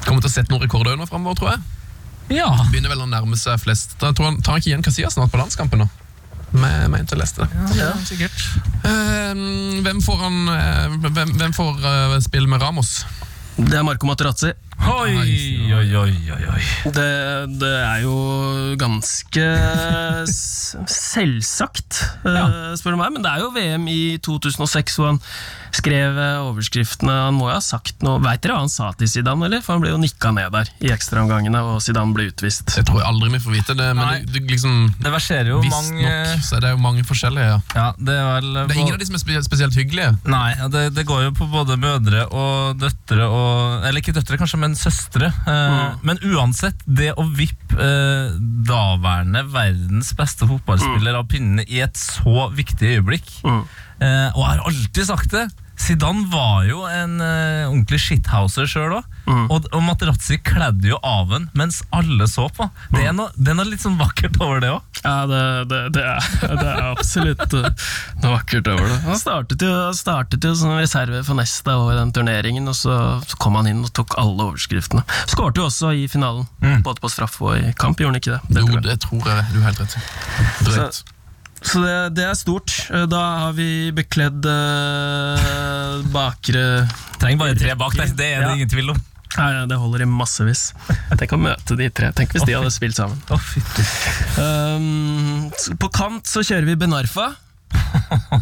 Speaker 7: Kommer til å sette noen rekorder nå fremover, tror jeg.
Speaker 4: Ja.
Speaker 7: Begynner vel å nærme seg flest. Da tror han, tar han ikke igjen Casillas snart på landskampen nå? Med, med til leste.
Speaker 4: ja, sikkert.
Speaker 7: Eh, hvem får, han, eh, hvem, hvem får eh, spille med Ramos?
Speaker 9: Det er Marco Materazzi.
Speaker 4: Oi, oi, oi, oi, oi.
Speaker 9: Det, det er jo ganske s- selvsagt, eh, spør du meg, men det er jo VM i 2006 hvor han skrev eh, overskriftene. Han må jo ha sagt noe. Veit dere hva han sa til Zidane, eller? For han ble jo nikka ned der i ekstraomgangene, og Zidane ble utvist.
Speaker 7: Det tror jeg aldri vi får vite. det,
Speaker 4: Nei.
Speaker 7: Men det, det, liksom,
Speaker 4: Det verserer jo mange
Speaker 7: visstnok så er det jo mange forskjellige. Ja.
Speaker 4: Ja, det er vel
Speaker 7: Det er ingen av de som er spe- spesielt hyggelige.
Speaker 4: Nei, ja, det, det går jo på både mødre og døtre og Eller ikke døtre, kanskje, men søstre. Eh, Men uansett, det å vippe eh, daværende verdens beste fotballspiller av pinnene i et så viktig øyeblikk
Speaker 9: Mm.
Speaker 4: eh, Og jeg har alltid sagt det! Zidane var jo en eh, ordentlig shithouser sjøl òg. Og, og Materazzi kledde jo av han mens alle så på. Det er noe, det er noe litt sånn vakkert over det òg.
Speaker 9: Ja, det, det, det, er, det er absolutt eh, noe vakkert over det. Han startet jo, startet jo som reserve for Nesta og i den turneringen, og så, så kom han inn og tok alle overskriftene. Skårte jo også i finalen,
Speaker 4: Mm.
Speaker 9: både på straff og i kamp, gjorde han ikke det?
Speaker 7: Jo,
Speaker 9: det
Speaker 7: det tror jeg du har helt rett i. Drøyt.
Speaker 9: så det, det er stort. Eh, Da har vi bekledd eh, bakre
Speaker 4: Trenger bare tre bak der, det er det
Speaker 9: Ja.
Speaker 4: ingen tvil om.
Speaker 9: Nei, nei, det holder i massevis. Tenk å møte de tre. Tenk hvis de hadde spilt sammen.
Speaker 4: Å, fytti.
Speaker 9: Um, s- på kant så kjører vi Benarfa.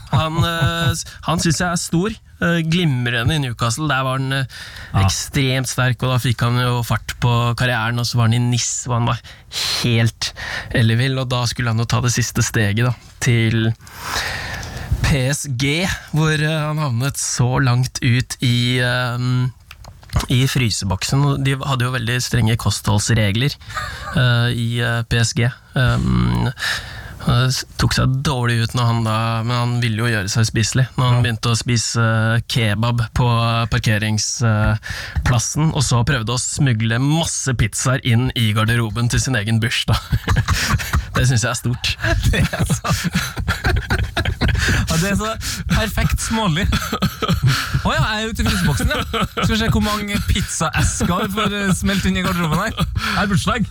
Speaker 9: Han, uh, han syns jeg er stor. Uh, glimrende i Newcastle. Der var han uh, ekstremt sterk, og da fikk han jo fart på karrieren. Og så var han i NIS, og han var helt ellevill. Og da skulle han jo ta det siste steget, da, til PSG, hvor uh, han havnet så langt ut i um, i fryseboksen. og De hadde jo veldig strenge kostholdsregler eh, i eh, PSG. Um, han s- tok seg dårlig ut, når han da, men han ville jo gjøre seg spiselig. Når han begynte å spise eh, kebab på eh, parkeringsplassen, og så prøvde å smugle masse pizzaer inn i garderoben til sin egen bursdag. Det syns jeg er stort.
Speaker 4: Ja, det er så perfekt smålig. Å ja, jeg er ute i fryseboksen, ja. Skal vi se hvor mange pizzaesker vi får eh, smelt inn i garderoben her. Det er bursdag.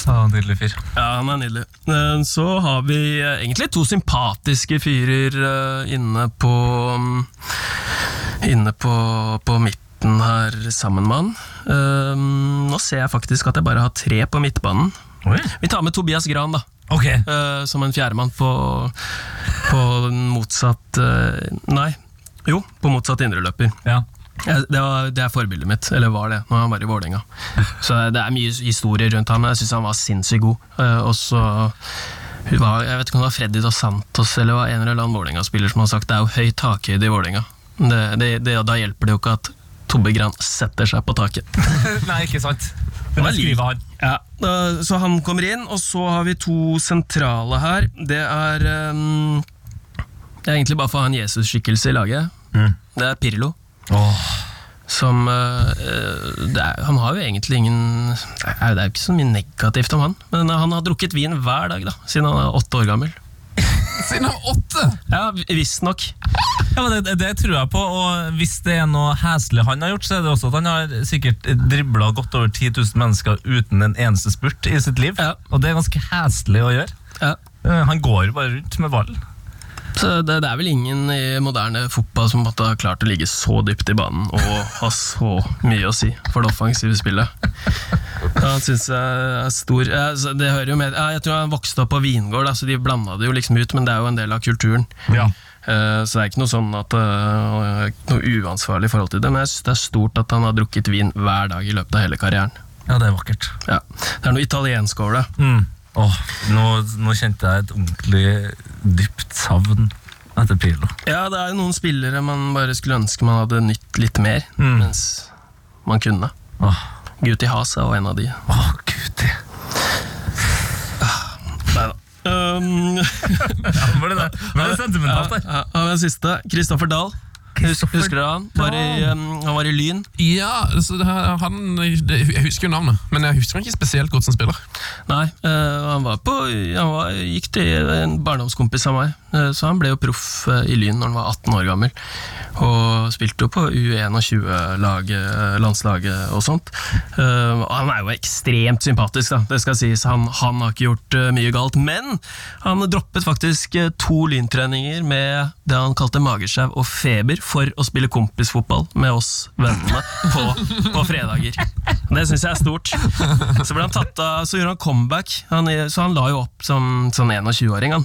Speaker 4: Så nydelig fyr.
Speaker 9: Ja, han er nydelig. Eh, Så har vi eh, egentlig to sympatiske fyrer eh, inne på mm, Inne på, på midten her sammen med han. Eh, Nå ser jeg faktisk at jeg bare har tre på midtbanen. Vi tar med Tobias Gran, da.
Speaker 4: Ok,
Speaker 9: eh, Som en fjerdemann på, på den motsatt eh, Nei. Jo, på motsatt indreløper.
Speaker 4: Ja.
Speaker 9: Ja, Det, var, det er forbildet mitt, eller var det, når han var i Vålerenga. Så det er mye historier rundt ham, men jeg syns han var sinnssykt god. Eh, Og så var, Jeg vet ikke om det var Freddy Dos Santos eller var en eller annen Vålerenga-spiller som har sagt det er jo høy takhøyde i Vålerenga. Det, det, det, da hjelper det jo ikke at Tobbe Gran setter seg på taket.
Speaker 4: Nei, ikke sant.
Speaker 9: Men
Speaker 4: Men
Speaker 9: det skriver
Speaker 4: skriver han.
Speaker 9: Ja, da- Så han kommer inn, og så har vi to sentrale her. Det er eh, Det er egentlig bare for å ha en Jesus-skikkelse i laget. Det er Pirlo. Som eh, eh, det er, Han har jo egentlig ingen Det er det er jo ikke så mye negativt om han, men han har drukket vin hver dag da siden han er åtte år gammel.
Speaker 7: Siden han var åtte!
Speaker 9: Ja, Visstnok.
Speaker 4: Ja, men det, det tror jeg på, og hvis det er noe heslig han har gjort, så er det også at han har sikkert dribla godt over 10 000 mennesker uten en eneste spurt i sitt liv.
Speaker 9: Ja.
Speaker 4: Og det er ganske heslig å gjøre.
Speaker 9: Ja.
Speaker 4: Eh, Han går jo bare rundt med ballen.
Speaker 9: Så eh, det, det er vel ingen i moderne fotball som måtte ha klart å ligge så dypt i banen og ha så mye å si for det offensive spillet. Ja, Han synes jeg er stor ja, så Det hører jo med ja, Jeg tror han vokste opp på vingård, da, så de blanda det jo liksom ut, men det er jo en del av kulturen. Eh, Så det er ikke noe sånn at eh, Noe uansvarlig i forhold til det, men jeg synes det er stort at han har drukket vin hver dag i løpet av hele karrieren.
Speaker 4: Ja, det er vakkert.
Speaker 9: Ja. Det er noe italiensk over det.
Speaker 4: Mm. Åh, nå, nå kjente jeg et ordentlig dypt savn etter Pirlo.
Speaker 9: Ja, det er jo noen spillere man bare skulle ønske man hadde nytt litt mer, mens man kunne.
Speaker 4: Åh,
Speaker 9: Guti Haas er jo en av de.
Speaker 4: åh gud.
Speaker 9: Um,
Speaker 4: Ja, var det det? Nå er det sentimentalt der.
Speaker 9: ja, og den siste, Kristoffer Dahl. Husker, husker du han? Var i, um, han var i Lyn.
Speaker 7: Ja, altså, det her- han det, Jeg husker jo navnet, men jeg husker han ikke spesielt godt som spiller.
Speaker 9: Nei, eh, han, var på, han var, gikk til en barndomskompis av meg, eh, så han ble jo proff eh, i Lyn når han var 18 år gammel. Og spilte jo på U21-landslaget landslaget og sånt. Eh, og han er jo ekstremt sympatisk, da. det skal sies. Han, han har ikke gjort eh, mye galt. Men han droppet faktisk eh, to lyntreninger med det han kalte magesjau og feber, for å spille kompisfotball med oss vennene på, på fredager. Det syns jeg er stort. Så ble han tatt av, så gjorde han comeback, han, så han la jo opp som, som 21-åring. han.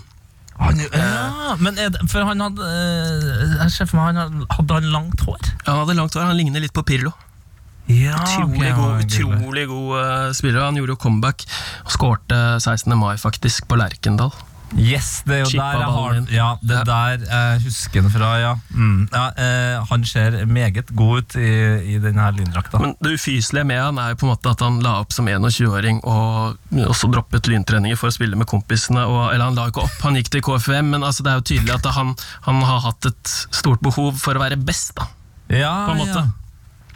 Speaker 4: Ja, men er det, for han hadde eh, Jeg ser for meg han hadde, hadde han langt hår.
Speaker 9: Han hadde langt hår, han ligner litt på Pirlo.
Speaker 4: Ah, Ja,
Speaker 9: Utrolig god, utrolig god eh, spiller. Han gjorde jo comeback og skårte 16. mai, faktisk, på Lerkendal.
Speaker 4: Yes, det er jo
Speaker 9: Chippa
Speaker 4: der jeg har
Speaker 9: ballen
Speaker 4: den. Ja, det er der jeg husker den fra, ja. Mm. ja eh, han ser meget god ut i, i denne lyndrakta.
Speaker 9: Men det ufyselige med han er jo på en måte at han la opp som 21-åring og også droppet lyntreninger for å spille med kompisene. Og, eller han la jo ikke opp, han gikk til KFUM, men altså, det er jo tydelig at han, han har hatt et stort behov for å være best, da,
Speaker 4: Ah, Ja,
Speaker 9: på en måte.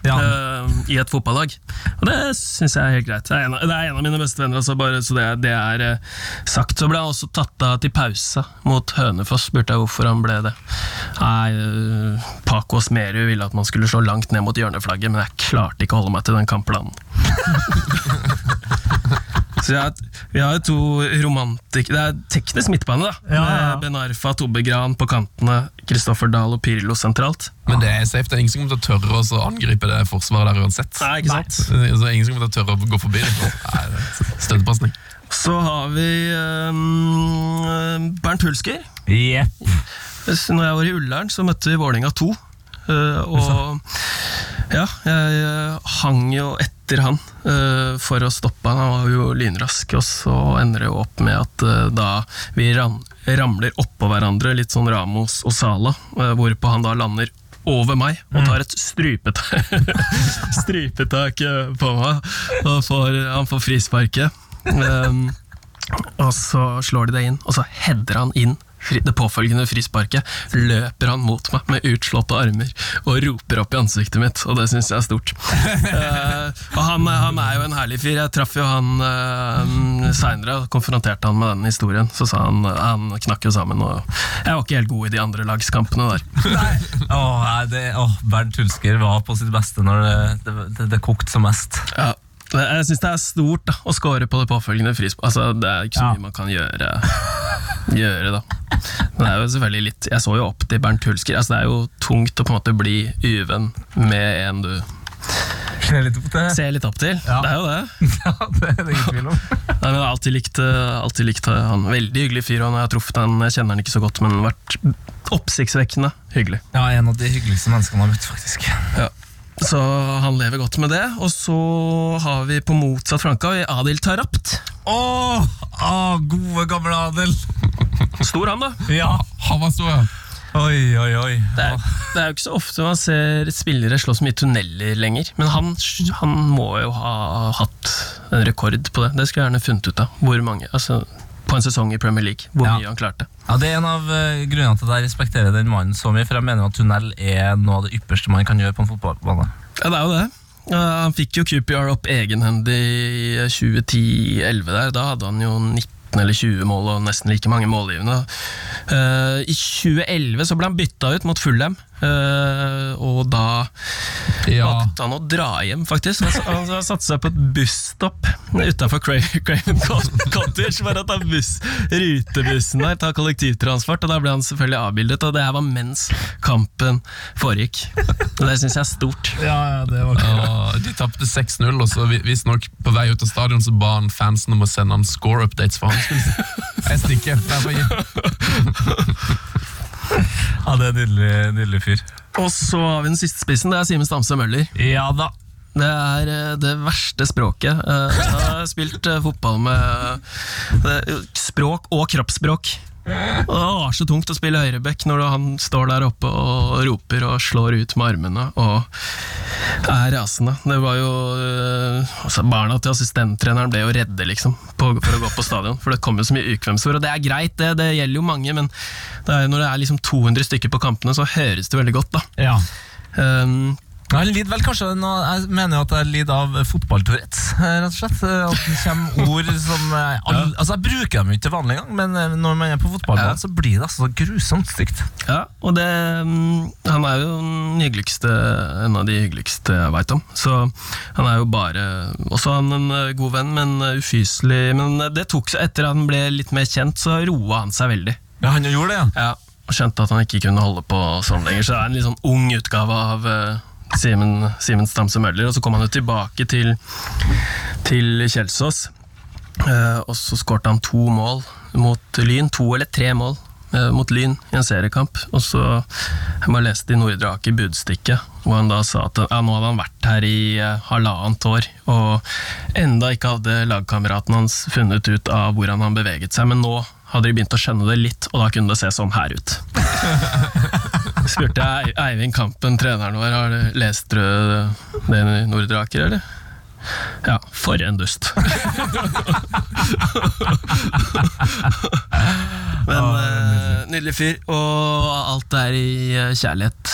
Speaker 4: Ja. ja.
Speaker 9: eh, i et fotballag. Og det syns jeg er helt greit. Det er en av, det er en av mine beste venner, altså bare så det, er- det er eh, sagt. Så ble han også tatt av til pause mot Hønefoss. Spurte jeg hvorfor han ble det. Nei, eh, Paco Smerud ville at man skulle slå langt ned mot hjørneflagget, men jeg klarte ikke å holde meg til den kampplanen. Så jeg, har- Vi har jo to romantikere Det er teknisk midtbane, da.
Speaker 4: ja, ja.
Speaker 9: Med Ben Arfa, Tobbe Gran på kantene, Kristoffer Dahl og Pirlo sentralt.
Speaker 7: Men det er safe, det er ingen som kommer til å tørre å så angripe det forsvaret der uansett.
Speaker 9: Nei, ikke sant?
Speaker 7: Så det er ingen som kommer til å tørre å gå forbi det. Nei, det er Støttepasning.
Speaker 9: Så har vi um, Bernt Hulsker.
Speaker 4: Jepp.
Speaker 9: Så Når jeg var i Ullern, så møtte vi Vålerenga 2. eh, og ja, jeg eh, hang jo etter han eh, for å stoppe han. Han var jo lynrask, og så ender det jo opp med at eh, da vi ran ramler oppå hverandre, litt sånn Ramos og Sala, eh, hvorpå han da lander over meg og tar et strupetak, strupetak eh, på meg. Og får, han får frisparket. Um, og så slår de det inn, og så header han inn fri, det påfølgende frisparket. Løper han mot meg med utslåtte armer og roper opp i ansiktet mitt, og det syns jeg er stort. Eh, og han, han er jo en herlig fyr. Jeg traff jo han uh, seinere og konfronterte han med den historien. Så sa han eh, han knakk jo sammen, og jeg var ikke helt god i de andre lagskampene der.
Speaker 4: Åh, nei, det, åh, Bernt Hulsker var på sitt beste når det, det, det, det kokte som mest.
Speaker 9: Ja. Jeg syns det er stort da, å score på det påfølgende frispark. Altså, det er ikke så mye man kan gjøre, gjøre da. Men det er jo selvfølgelig litt Jeg så jo opp til Bernt Hulsker. Altså, det er jo tungt å på en måte bli uvenn med en du
Speaker 4: Ser litt opp til.
Speaker 9: ser litt opp til.
Speaker 4: Ja.
Speaker 9: Det er jo det.
Speaker 4: Ja, det er det ingen tvil om.
Speaker 9: Nei, men jeg har alltid likt, eh, alltid likt han. Veldig hyggelig fyr. og når jeg har truffet han, jeg kjenner han ikke så godt, men vært Oppsiktsvekkende hyggelig.
Speaker 4: Ja, en av de hyggeligste menneskene jeg har møtt, faktisk.
Speaker 9: Så han lever godt med det. Og så har vi på motsatt flanke har vi Adil Tarapt.
Speaker 4: Åh, ah, gode gamle Adel!
Speaker 9: Stor han, da.
Speaker 4: Ja.
Speaker 7: Han var stor, ja.
Speaker 4: Oi, oi, oi.
Speaker 9: Det er, det er jo ikke så ofte man ser spillere slå så mye tunneler lenger. Men han, han må jo ha hatt en rekord på det. Det skulle jeg gjerne funnet ut av. Hvor mange, altså På en sesong i Premier League. Hvor
Speaker 4: Ja.
Speaker 9: mye han klarte.
Speaker 4: Ja, Det er en av eh, grunnene til at jeg respekterer den mannen så mye, for jeg mener at tunnel er noe av det ypperste man kan gjøre på en fotballbane.
Speaker 9: Ja, det er jo det. Eh, han fikk jo QPR opp egenhendig i 2010-11 der. Da hadde han jo 19 eller 20 mål og nesten like mange målgivende. Eh, I 2011 så ble han bytta ut mot Fulham, eh, og da valgte han å dra hjem, faktisk. Han, han, han satte seg på et busstopp utafor Craven Cottage for å ta buss, rutebussen der, ta kollektivtransport, og da ble han selvfølgelig avbildet. Og det her var mens kampen foregikk. Og det syns jeg er stort.
Speaker 7: Ja, de tapte 6-0, og så vi- visstnok på vei ut av stadion så ba han fansen om å sende han score updates, for han skulle Jeg stikker. Jeg bare gikk.
Speaker 4: Ja, det er en nydelig, nydelig fyr.
Speaker 9: Og så har vi den siste spissen, det er Simen Stamse Møller.
Speaker 4: Ja da.
Speaker 9: Det er eh, det verste språket. Eh, Jeg har spilt eh, fotball med eh, språk og kroppsspråk. Og det var så tungt å spille høyreback når han står der oppe og roper og slår ut med armene og er rasende. Det var jo eh, altså Barna til assistenttreneren ble jo redde liksom på, for å gå på stadion, for det kom jo så mye ukvemsord. Og det er greit, det, det gjelder jo mange, men det er jo når det er liksom 200 stykker på kampene, så høres det veldig godt, da.
Speaker 4: Ja.
Speaker 9: Um,
Speaker 4: Jeg lider vel kanskje nå, Jeg mener jo at jeg lider av fotballtourette, eh, rett og slett. Eh, At det kommer ord som eh, all, Altså, jeg bruker dem jo ikke til vanlig gang, men eh, når man er på
Speaker 9: Ja.
Speaker 4: fotballbanen, så blir det altså så grusomt stygt.
Speaker 9: Ja, og det mm, Han er jo den hyggeligste En av de hyggeligste jeg veit om. Så han er jo bare Også han en eh, god venn, men eh, ufyselig. Men eh, det tok seg etter at han ble litt mer kjent, så roa han seg veldig.
Speaker 4: Ja, han gjorde det, ja.
Speaker 9: Ja, Og skjønte at han ikke kunne holde på sånn lenger, så det er en litt sånn ung utgave av eh, Simen, Simen Stamse Møller. Og så kom han jo tilbake til, til Kjelsås, eh, og så skårte han to mål mot Lyn. To eller tre mål eh, mot Lyn i en seriekamp. Og så Jeg bare leste i Nordre Aker Budstikke, hvor han da sa at ja, nå hadde han vært her i eh, halvannet år, og enda ikke hadde lagkameraten hans funnet ut av hvordan han beveget seg, men nå hadde de begynt å skjønne det litt, og da kunne det se sånn her ut. Spurte jeg Ei- Eivind Kampen, treneren vår, har du lest du det i Nordre Aker, eller? Ja, for en dust. Men
Speaker 7: Ah,
Speaker 9: eh, nydelig fyr, og alt er i eh, kjærlighet.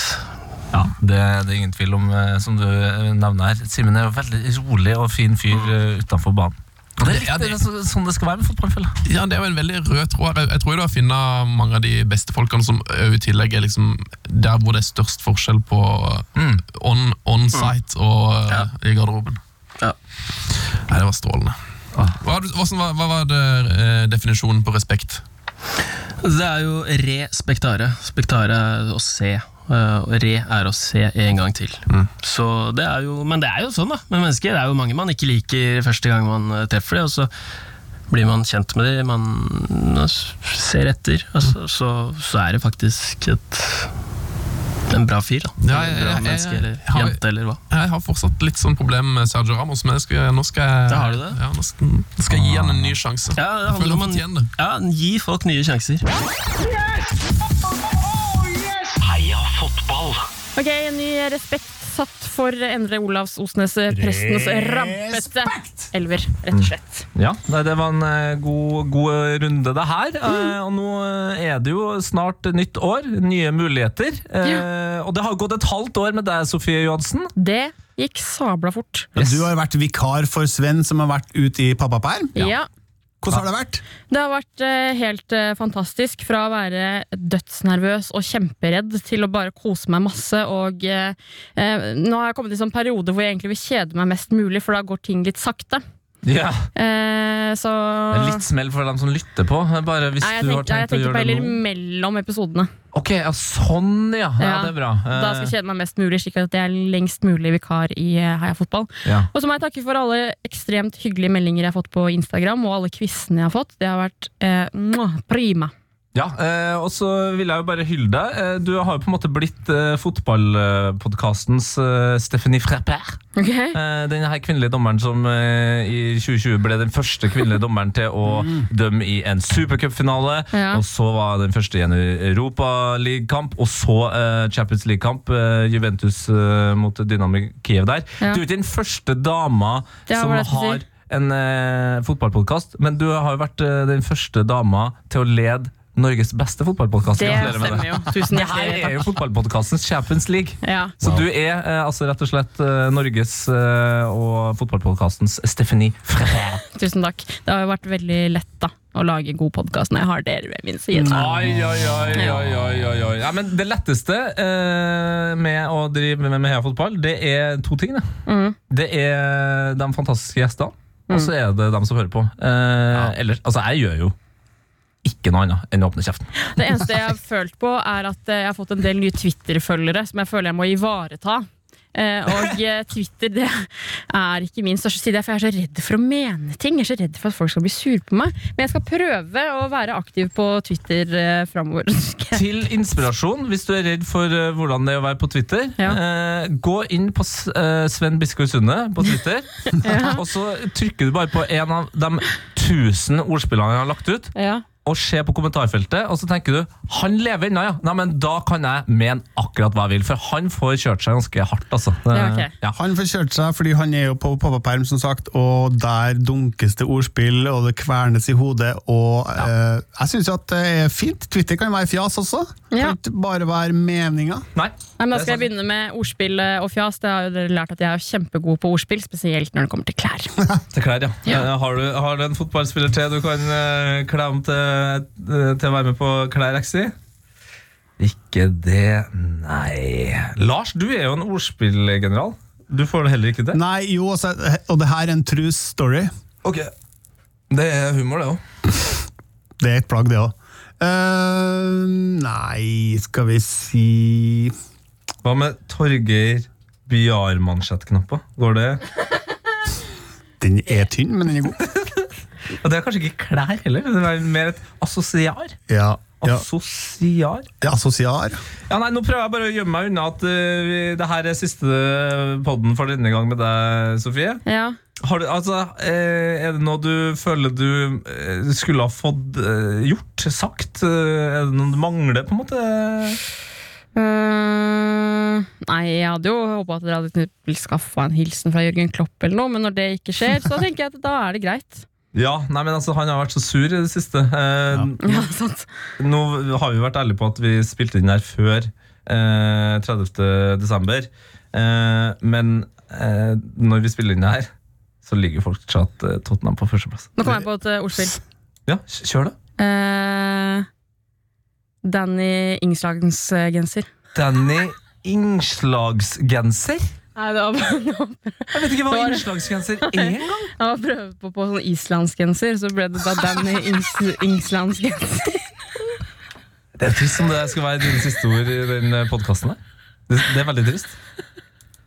Speaker 4: Ja, det, det er ingen tvil om, eh, som du eh, nevner her. Simen er jo veldig rolig og fin fyr eh, utenfor banen. Og det er
Speaker 7: Ja,
Speaker 4: litt
Speaker 7: det-
Speaker 4: eh, så- sånn det skal være med fotball, føler jeg.
Speaker 7: Ja, det er jo en veldig rød tråd. her. Jeg tror du har funnet mange av de beste folkene som ø, i tillegg er liksom der hvor det er størst forskjell på
Speaker 9: Mm.
Speaker 7: ø, on, on site og ø, i garderoben.
Speaker 9: Ja. Ah.
Speaker 7: Nei, det var strålende. Hva, har du- hvordan var- hva var det, ø, definisjonen på respekt?
Speaker 9: Det er jo respektare. Spektare er å se. eh, Og re er å se en gang til.
Speaker 7: Mm.
Speaker 9: Så det er jo, men det er jo sånn, da. Med mennesker. Det er jo mange man ikke liker første gang man eh, treffer dem, og så blir man kjent med dem, man eh, ser etter, og
Speaker 7: Mm.
Speaker 9: så, så, så er det faktisk et en bra fyr, da.
Speaker 7: Ja, jeg-
Speaker 9: En bra
Speaker 7: jeg- jeg-
Speaker 9: menneske, eller
Speaker 7: jeg har-
Speaker 9: jente, eller hva.
Speaker 7: Jeg har fortsatt litt sånn problem med Sergio Ramos, men jeg skal, nå skal jeg,
Speaker 9: Da har du det. Ah.
Speaker 7: Ja, nå skal, nå skal jeg gi han en ny sjanse.
Speaker 9: Ja, det
Speaker 7: jeg
Speaker 9: handler
Speaker 7: føler
Speaker 9: om
Speaker 7: han
Speaker 9: å
Speaker 7: fortjener det.
Speaker 9: ja, gi folk nye sjanser.
Speaker 6: Ok, en ny respekt satt for Endre Olavs Osnes, eh, prestens rampete elver, rett og slett.
Speaker 4: Ja, nei, det var en eh, god, god runde, det her.
Speaker 6: Mm.
Speaker 4: Eh, og nå eh, er det jo snart nytt år, nye muligheter. Eh, Og det har gått et halvt år med deg, Sofie Johansen.
Speaker 6: Det gikk sabla fort.
Speaker 5: Ja, Du har vært vikar for Sven, som har vært ute i pappaperm.
Speaker 6: Ja.
Speaker 5: Hvordan har det vært?
Speaker 6: Det har vært eh, helt eh, fantastisk. Fra å være dødsnervøs og kjemperedd til å bare kose meg masse. Og eh, eh, nå har jeg kommet i en sånn periode hvor jeg egentlig vil kjede meg mest mulig, for da går ting litt sakte.
Speaker 4: Ja,
Speaker 6: Eh, så
Speaker 4: det er Litt smell for dem som lytter på. eh, Bare hvis
Speaker 6: Nei, jeg
Speaker 4: du
Speaker 6: tenker,
Speaker 4: har tenkt
Speaker 6: jeg tenker
Speaker 4: å
Speaker 6: på
Speaker 4: gjøre det
Speaker 6: heller
Speaker 4: nå.
Speaker 6: mellom episodene.
Speaker 4: Ok, ja, sånn, ja. ja.
Speaker 6: Ja,
Speaker 4: det er bra.
Speaker 6: Da
Speaker 4: Eh,
Speaker 6: skal jeg kjede meg mest mulig, slik at jeg er lengst mulig vikar i eh, Heia Fotball.
Speaker 4: ja.
Speaker 6: Og så må jeg takke for alle ekstremt hyggelige meldinger jeg har fått på Instagram, og alle quizene jeg har fått. Det har vært eh, mwah, prima.
Speaker 4: Ja, eh, og så vil jeg jo bare hylle deg. Eh, Du har jo på en måte blitt eh, fotballpodkastens eh, Stephanie Frappert.
Speaker 6: Ok?
Speaker 4: Eh, den her kvinnelige dommeren som eh, i 2020 ble den første kvinnelige dommeren til å dømme i en supercupfinale.
Speaker 6: Mm. Ja.
Speaker 4: Og så var den første i en europaligakamp, og så eh, Champions League-kamp. Eh, Juventus eh, mot Dynamic Kiev der.
Speaker 6: Ja.
Speaker 4: Du er jo ikke den første dama
Speaker 6: Ja,
Speaker 4: som
Speaker 6: hva er det jeg skulle
Speaker 4: har
Speaker 6: si?
Speaker 4: en eh, fotballpodkast, men du har jo vært eh, den første dama til å lede Norges beste fotballpodkast.
Speaker 6: Det
Speaker 4: Gratulerer med
Speaker 6: stemmer jo. Tusen
Speaker 4: Det her
Speaker 6: hjertelig
Speaker 4: er
Speaker 6: takk.
Speaker 4: jo fotballpodkastens Champions League.
Speaker 6: Ja.
Speaker 4: Så du er eh, altså rett og slett eh, Norges eh, og fotballpodkastens Stephanie Frère.
Speaker 6: Tusen takk. Det har jo vært veldig lett da, å lage god podkast når jeg har dere ved min side.
Speaker 4: Oi, oi, oi, oi, oi, oi, oi. Ja, men det letteste eh, med å drive med, med Heia Fotball, det er to ting. Det, det er de fantastiske gjestene, og så er det dem som hører på. Eh, Ellers, altså jeg gjør jo ikke noe annet enn å åpne kjeften.
Speaker 6: Det eneste jeg har følt på, er at eh, jeg har fått en del nye Twitter-følgere som jeg føler jeg må ivareta. Eh, og eh, Twitter det er ikke min største side, for jeg er så redd for å mene ting. Jeg er så redd for at folk skal bli sur på meg. Men jeg skal prøve å være aktiv på Twitter eh, framover. Skal jeg-
Speaker 4: Til inspirasjon, hvis du er redd for eh, hvordan det er å være på Twitter, eh, gå inn på S- eh, Sven Biskår Sunde på Twitter, og så trykker du bare på en av de tusen ordspillene han har lagt ut,
Speaker 6: Ja.
Speaker 4: og se på kommentarfeltet, og så tenker du han lever ennå, ja. Nei, men da kan jeg mene akkurat hva jeg vil, for han får kjørt seg ganske hardt, altså.
Speaker 6: Ja, ok.
Speaker 4: ja.
Speaker 5: Han får kjørt seg, fordi han er jo på pappaperm, som sagt, og der dunkes det ordspill, og det kvernes i hodet, og eh, jeg syns jo at det er fint. Twitter kan være fjas også.
Speaker 6: Ja.
Speaker 5: Kan ikke bare være meninga.
Speaker 4: Nei.
Speaker 6: Nei, men da
Speaker 4: Det er
Speaker 6: skal jeg begynne med ordspill eh, og fjas. Det har jo dere lært at jeg er kjempegod på ordspill, spesielt når det kommer til klær.
Speaker 4: Til klær, ja.
Speaker 6: Ja.
Speaker 4: Eh, Har, du, har du en fotballspiller til du kan eh, kle om til, eh, til å være med på klær, Exi? Ikke det, nei Lars, du er jo en ordspillgeneral. Du får det heller ikke til.
Speaker 5: Nei, jo, altså, og det her er en true story.
Speaker 4: Ok, Det er humor, det òg.
Speaker 5: Det er et plagg, det òg. nei, skal vi si
Speaker 4: Hva med Torgeir Biar-mansjettknapper? Går det?
Speaker 5: Den er tynn, men den er god.
Speaker 4: Og det er kanskje ikke klær heller, det er mer et assosiar.
Speaker 5: Ja, ja.
Speaker 4: Assosiar?
Speaker 5: Det er Assosiar.
Speaker 4: Ja, nei, Nå prøver jeg bare å gjemme meg unna at eh, vi- det her er siste eh, podden for denne gang med deg, Sofie.
Speaker 6: Ja.
Speaker 4: Har du, altså, eh, er det noe du føler du eh, skulle ha fått eh, gjort, sagt? Eh, Er det noe du mangler, på en måte?
Speaker 6: Eh, nei, jeg hadde jo håpa at dere hadde skaffa en hilsen fra Jørgen Klopp eller noe, men når det ikke skjer, så tenker jeg at da er det greit.
Speaker 4: Ja, nei, men altså, Han har vært så sur i det siste. Eh,
Speaker 6: Ja, sant.
Speaker 4: Nå har vi vært ærlige på at vi spilte inn her før eh, 30. desember. Eh, men eh, når vi spiller inn her, så ligger fortsatt eh, Tottenham på førsteplass.
Speaker 6: Nå kom jeg på et eh, ordspill.
Speaker 4: Ja, kj- kjør det.
Speaker 6: Eh, Danny Ingslagens eh, genser.
Speaker 4: Danny Innslagsgenser?
Speaker 6: Nei, det var bare det var-
Speaker 4: Jeg vet ikke hva
Speaker 6: Hva er det?
Speaker 4: innslagsgenser er engang!
Speaker 6: Jeg var prøve på, på sånn islandsgenser, så ble det da Danny Ings Ingslandsgenser.
Speaker 4: Det er trist om det skal være dine siste ord i den podkasten her. Det, det er veldig trist.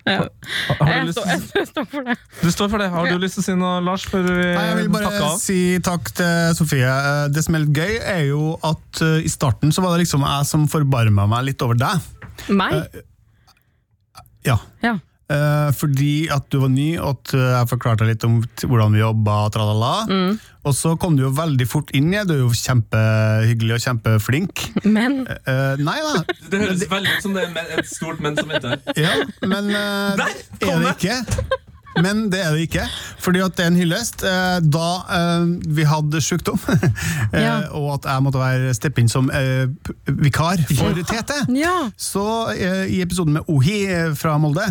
Speaker 6: Ja.
Speaker 4: Har- Har du,
Speaker 6: Jeg,
Speaker 4: lyst,
Speaker 6: står- jeg står for det.
Speaker 4: du står for det. Har du lyst til å si noe, Lars, før vi
Speaker 5: Nei, Jeg vil
Speaker 4: takker
Speaker 5: bare
Speaker 4: av?
Speaker 5: si takk til Sofie. Eh, Det som er litt gøy, er jo at eh, i starten så var det liksom jeg som forbarma meg litt over deg.
Speaker 4: Eh,
Speaker 6: Meg?
Speaker 5: Ja.
Speaker 6: Ja.
Speaker 5: Eh, fordi at du var ny, og at eh, jeg forklarte litt om t- hvordan vi jobba. Tralala. Og så kom du jo veldig fort inn i det. Du er jo kjempehyggelig og kjempeflink.
Speaker 6: Men
Speaker 5: Eh, nei da.
Speaker 4: Det høres veldig ut som det er et stort men som venter.
Speaker 5: Ja, men eh,
Speaker 4: Der kom
Speaker 5: er det
Speaker 4: det!
Speaker 5: ikke. Men det er det ikke, fordi at det er en hyllest. eh, Da eh, vi hadde sykdom, eh,
Speaker 6: Ja.
Speaker 5: og at jeg måtte være steppe inn som eh, p- vikar for Tete,
Speaker 6: ja.
Speaker 5: så eh, i episoden med Ohi eh, fra Molde,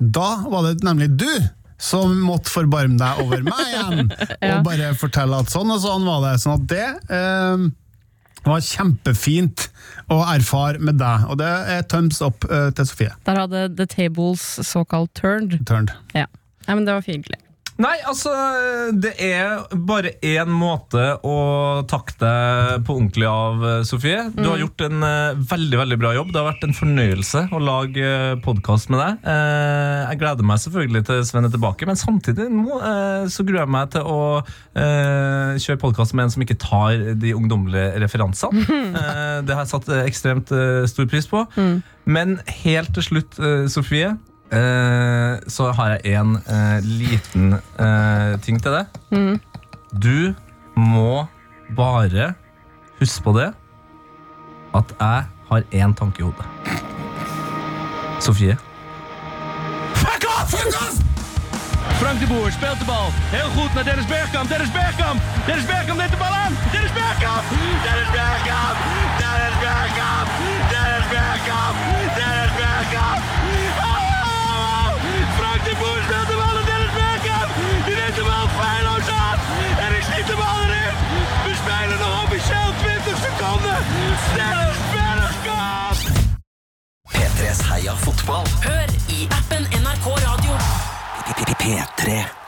Speaker 5: da var det nemlig du som måtte forbarme deg over meg igjen,
Speaker 6: Ja.
Speaker 5: og bare fortelle at sånn og sånn var det. Sånn at det eh, var kjempefint å erfare med deg, og det er thumbs up eh, til Sofie.
Speaker 6: Der hadde The Tables såkalt turned.
Speaker 5: Turned.
Speaker 6: Ja. Nei, men det var fint.
Speaker 4: Nei, altså, det er bare én måte å takke deg på ordentlig av, eh, Sofie. Du har gjort en eh, veldig veldig bra jobb. Det har vært en fornøyelse å lage podkast med deg. Eh, jeg gleder meg selvfølgelig til Sven er tilbake, men samtidig nå eh, så gruer jeg meg til å eh, kjøre podkast med en som ikke tar de ungdommelige referansene. Eh, det har jeg satt eh, ekstremt eh, stor pris på. Men helt til slutt, eh, Sofie, eh, så har jeg en eh, liten eh, ting til deg. Du må bare huske på det at jeg har én tanke i hodet. Sofie.
Speaker 2: Frank de Boer speelt de bal. Heel goed naar Dennis Bergkamp. Dennis Bergkamp. Dennis Bergkamp neemt de bal aan. Dennis Bergkamp. Dennis Bergkamp. Dennis Bergkamp. Dennis Bergkamp. Dennis Bergkamp. Oh! Frank de Boer speelt de bal naar Dennis Bergkamp. Die neemt de bal feilloos aan. En is niet de bal erin. We spelen nog officieel 20 seconden. Dennis Bergkamp.
Speaker 3: P3s Heia fotball.
Speaker 10: Hør i appen NRK Radio.
Speaker 3: P3.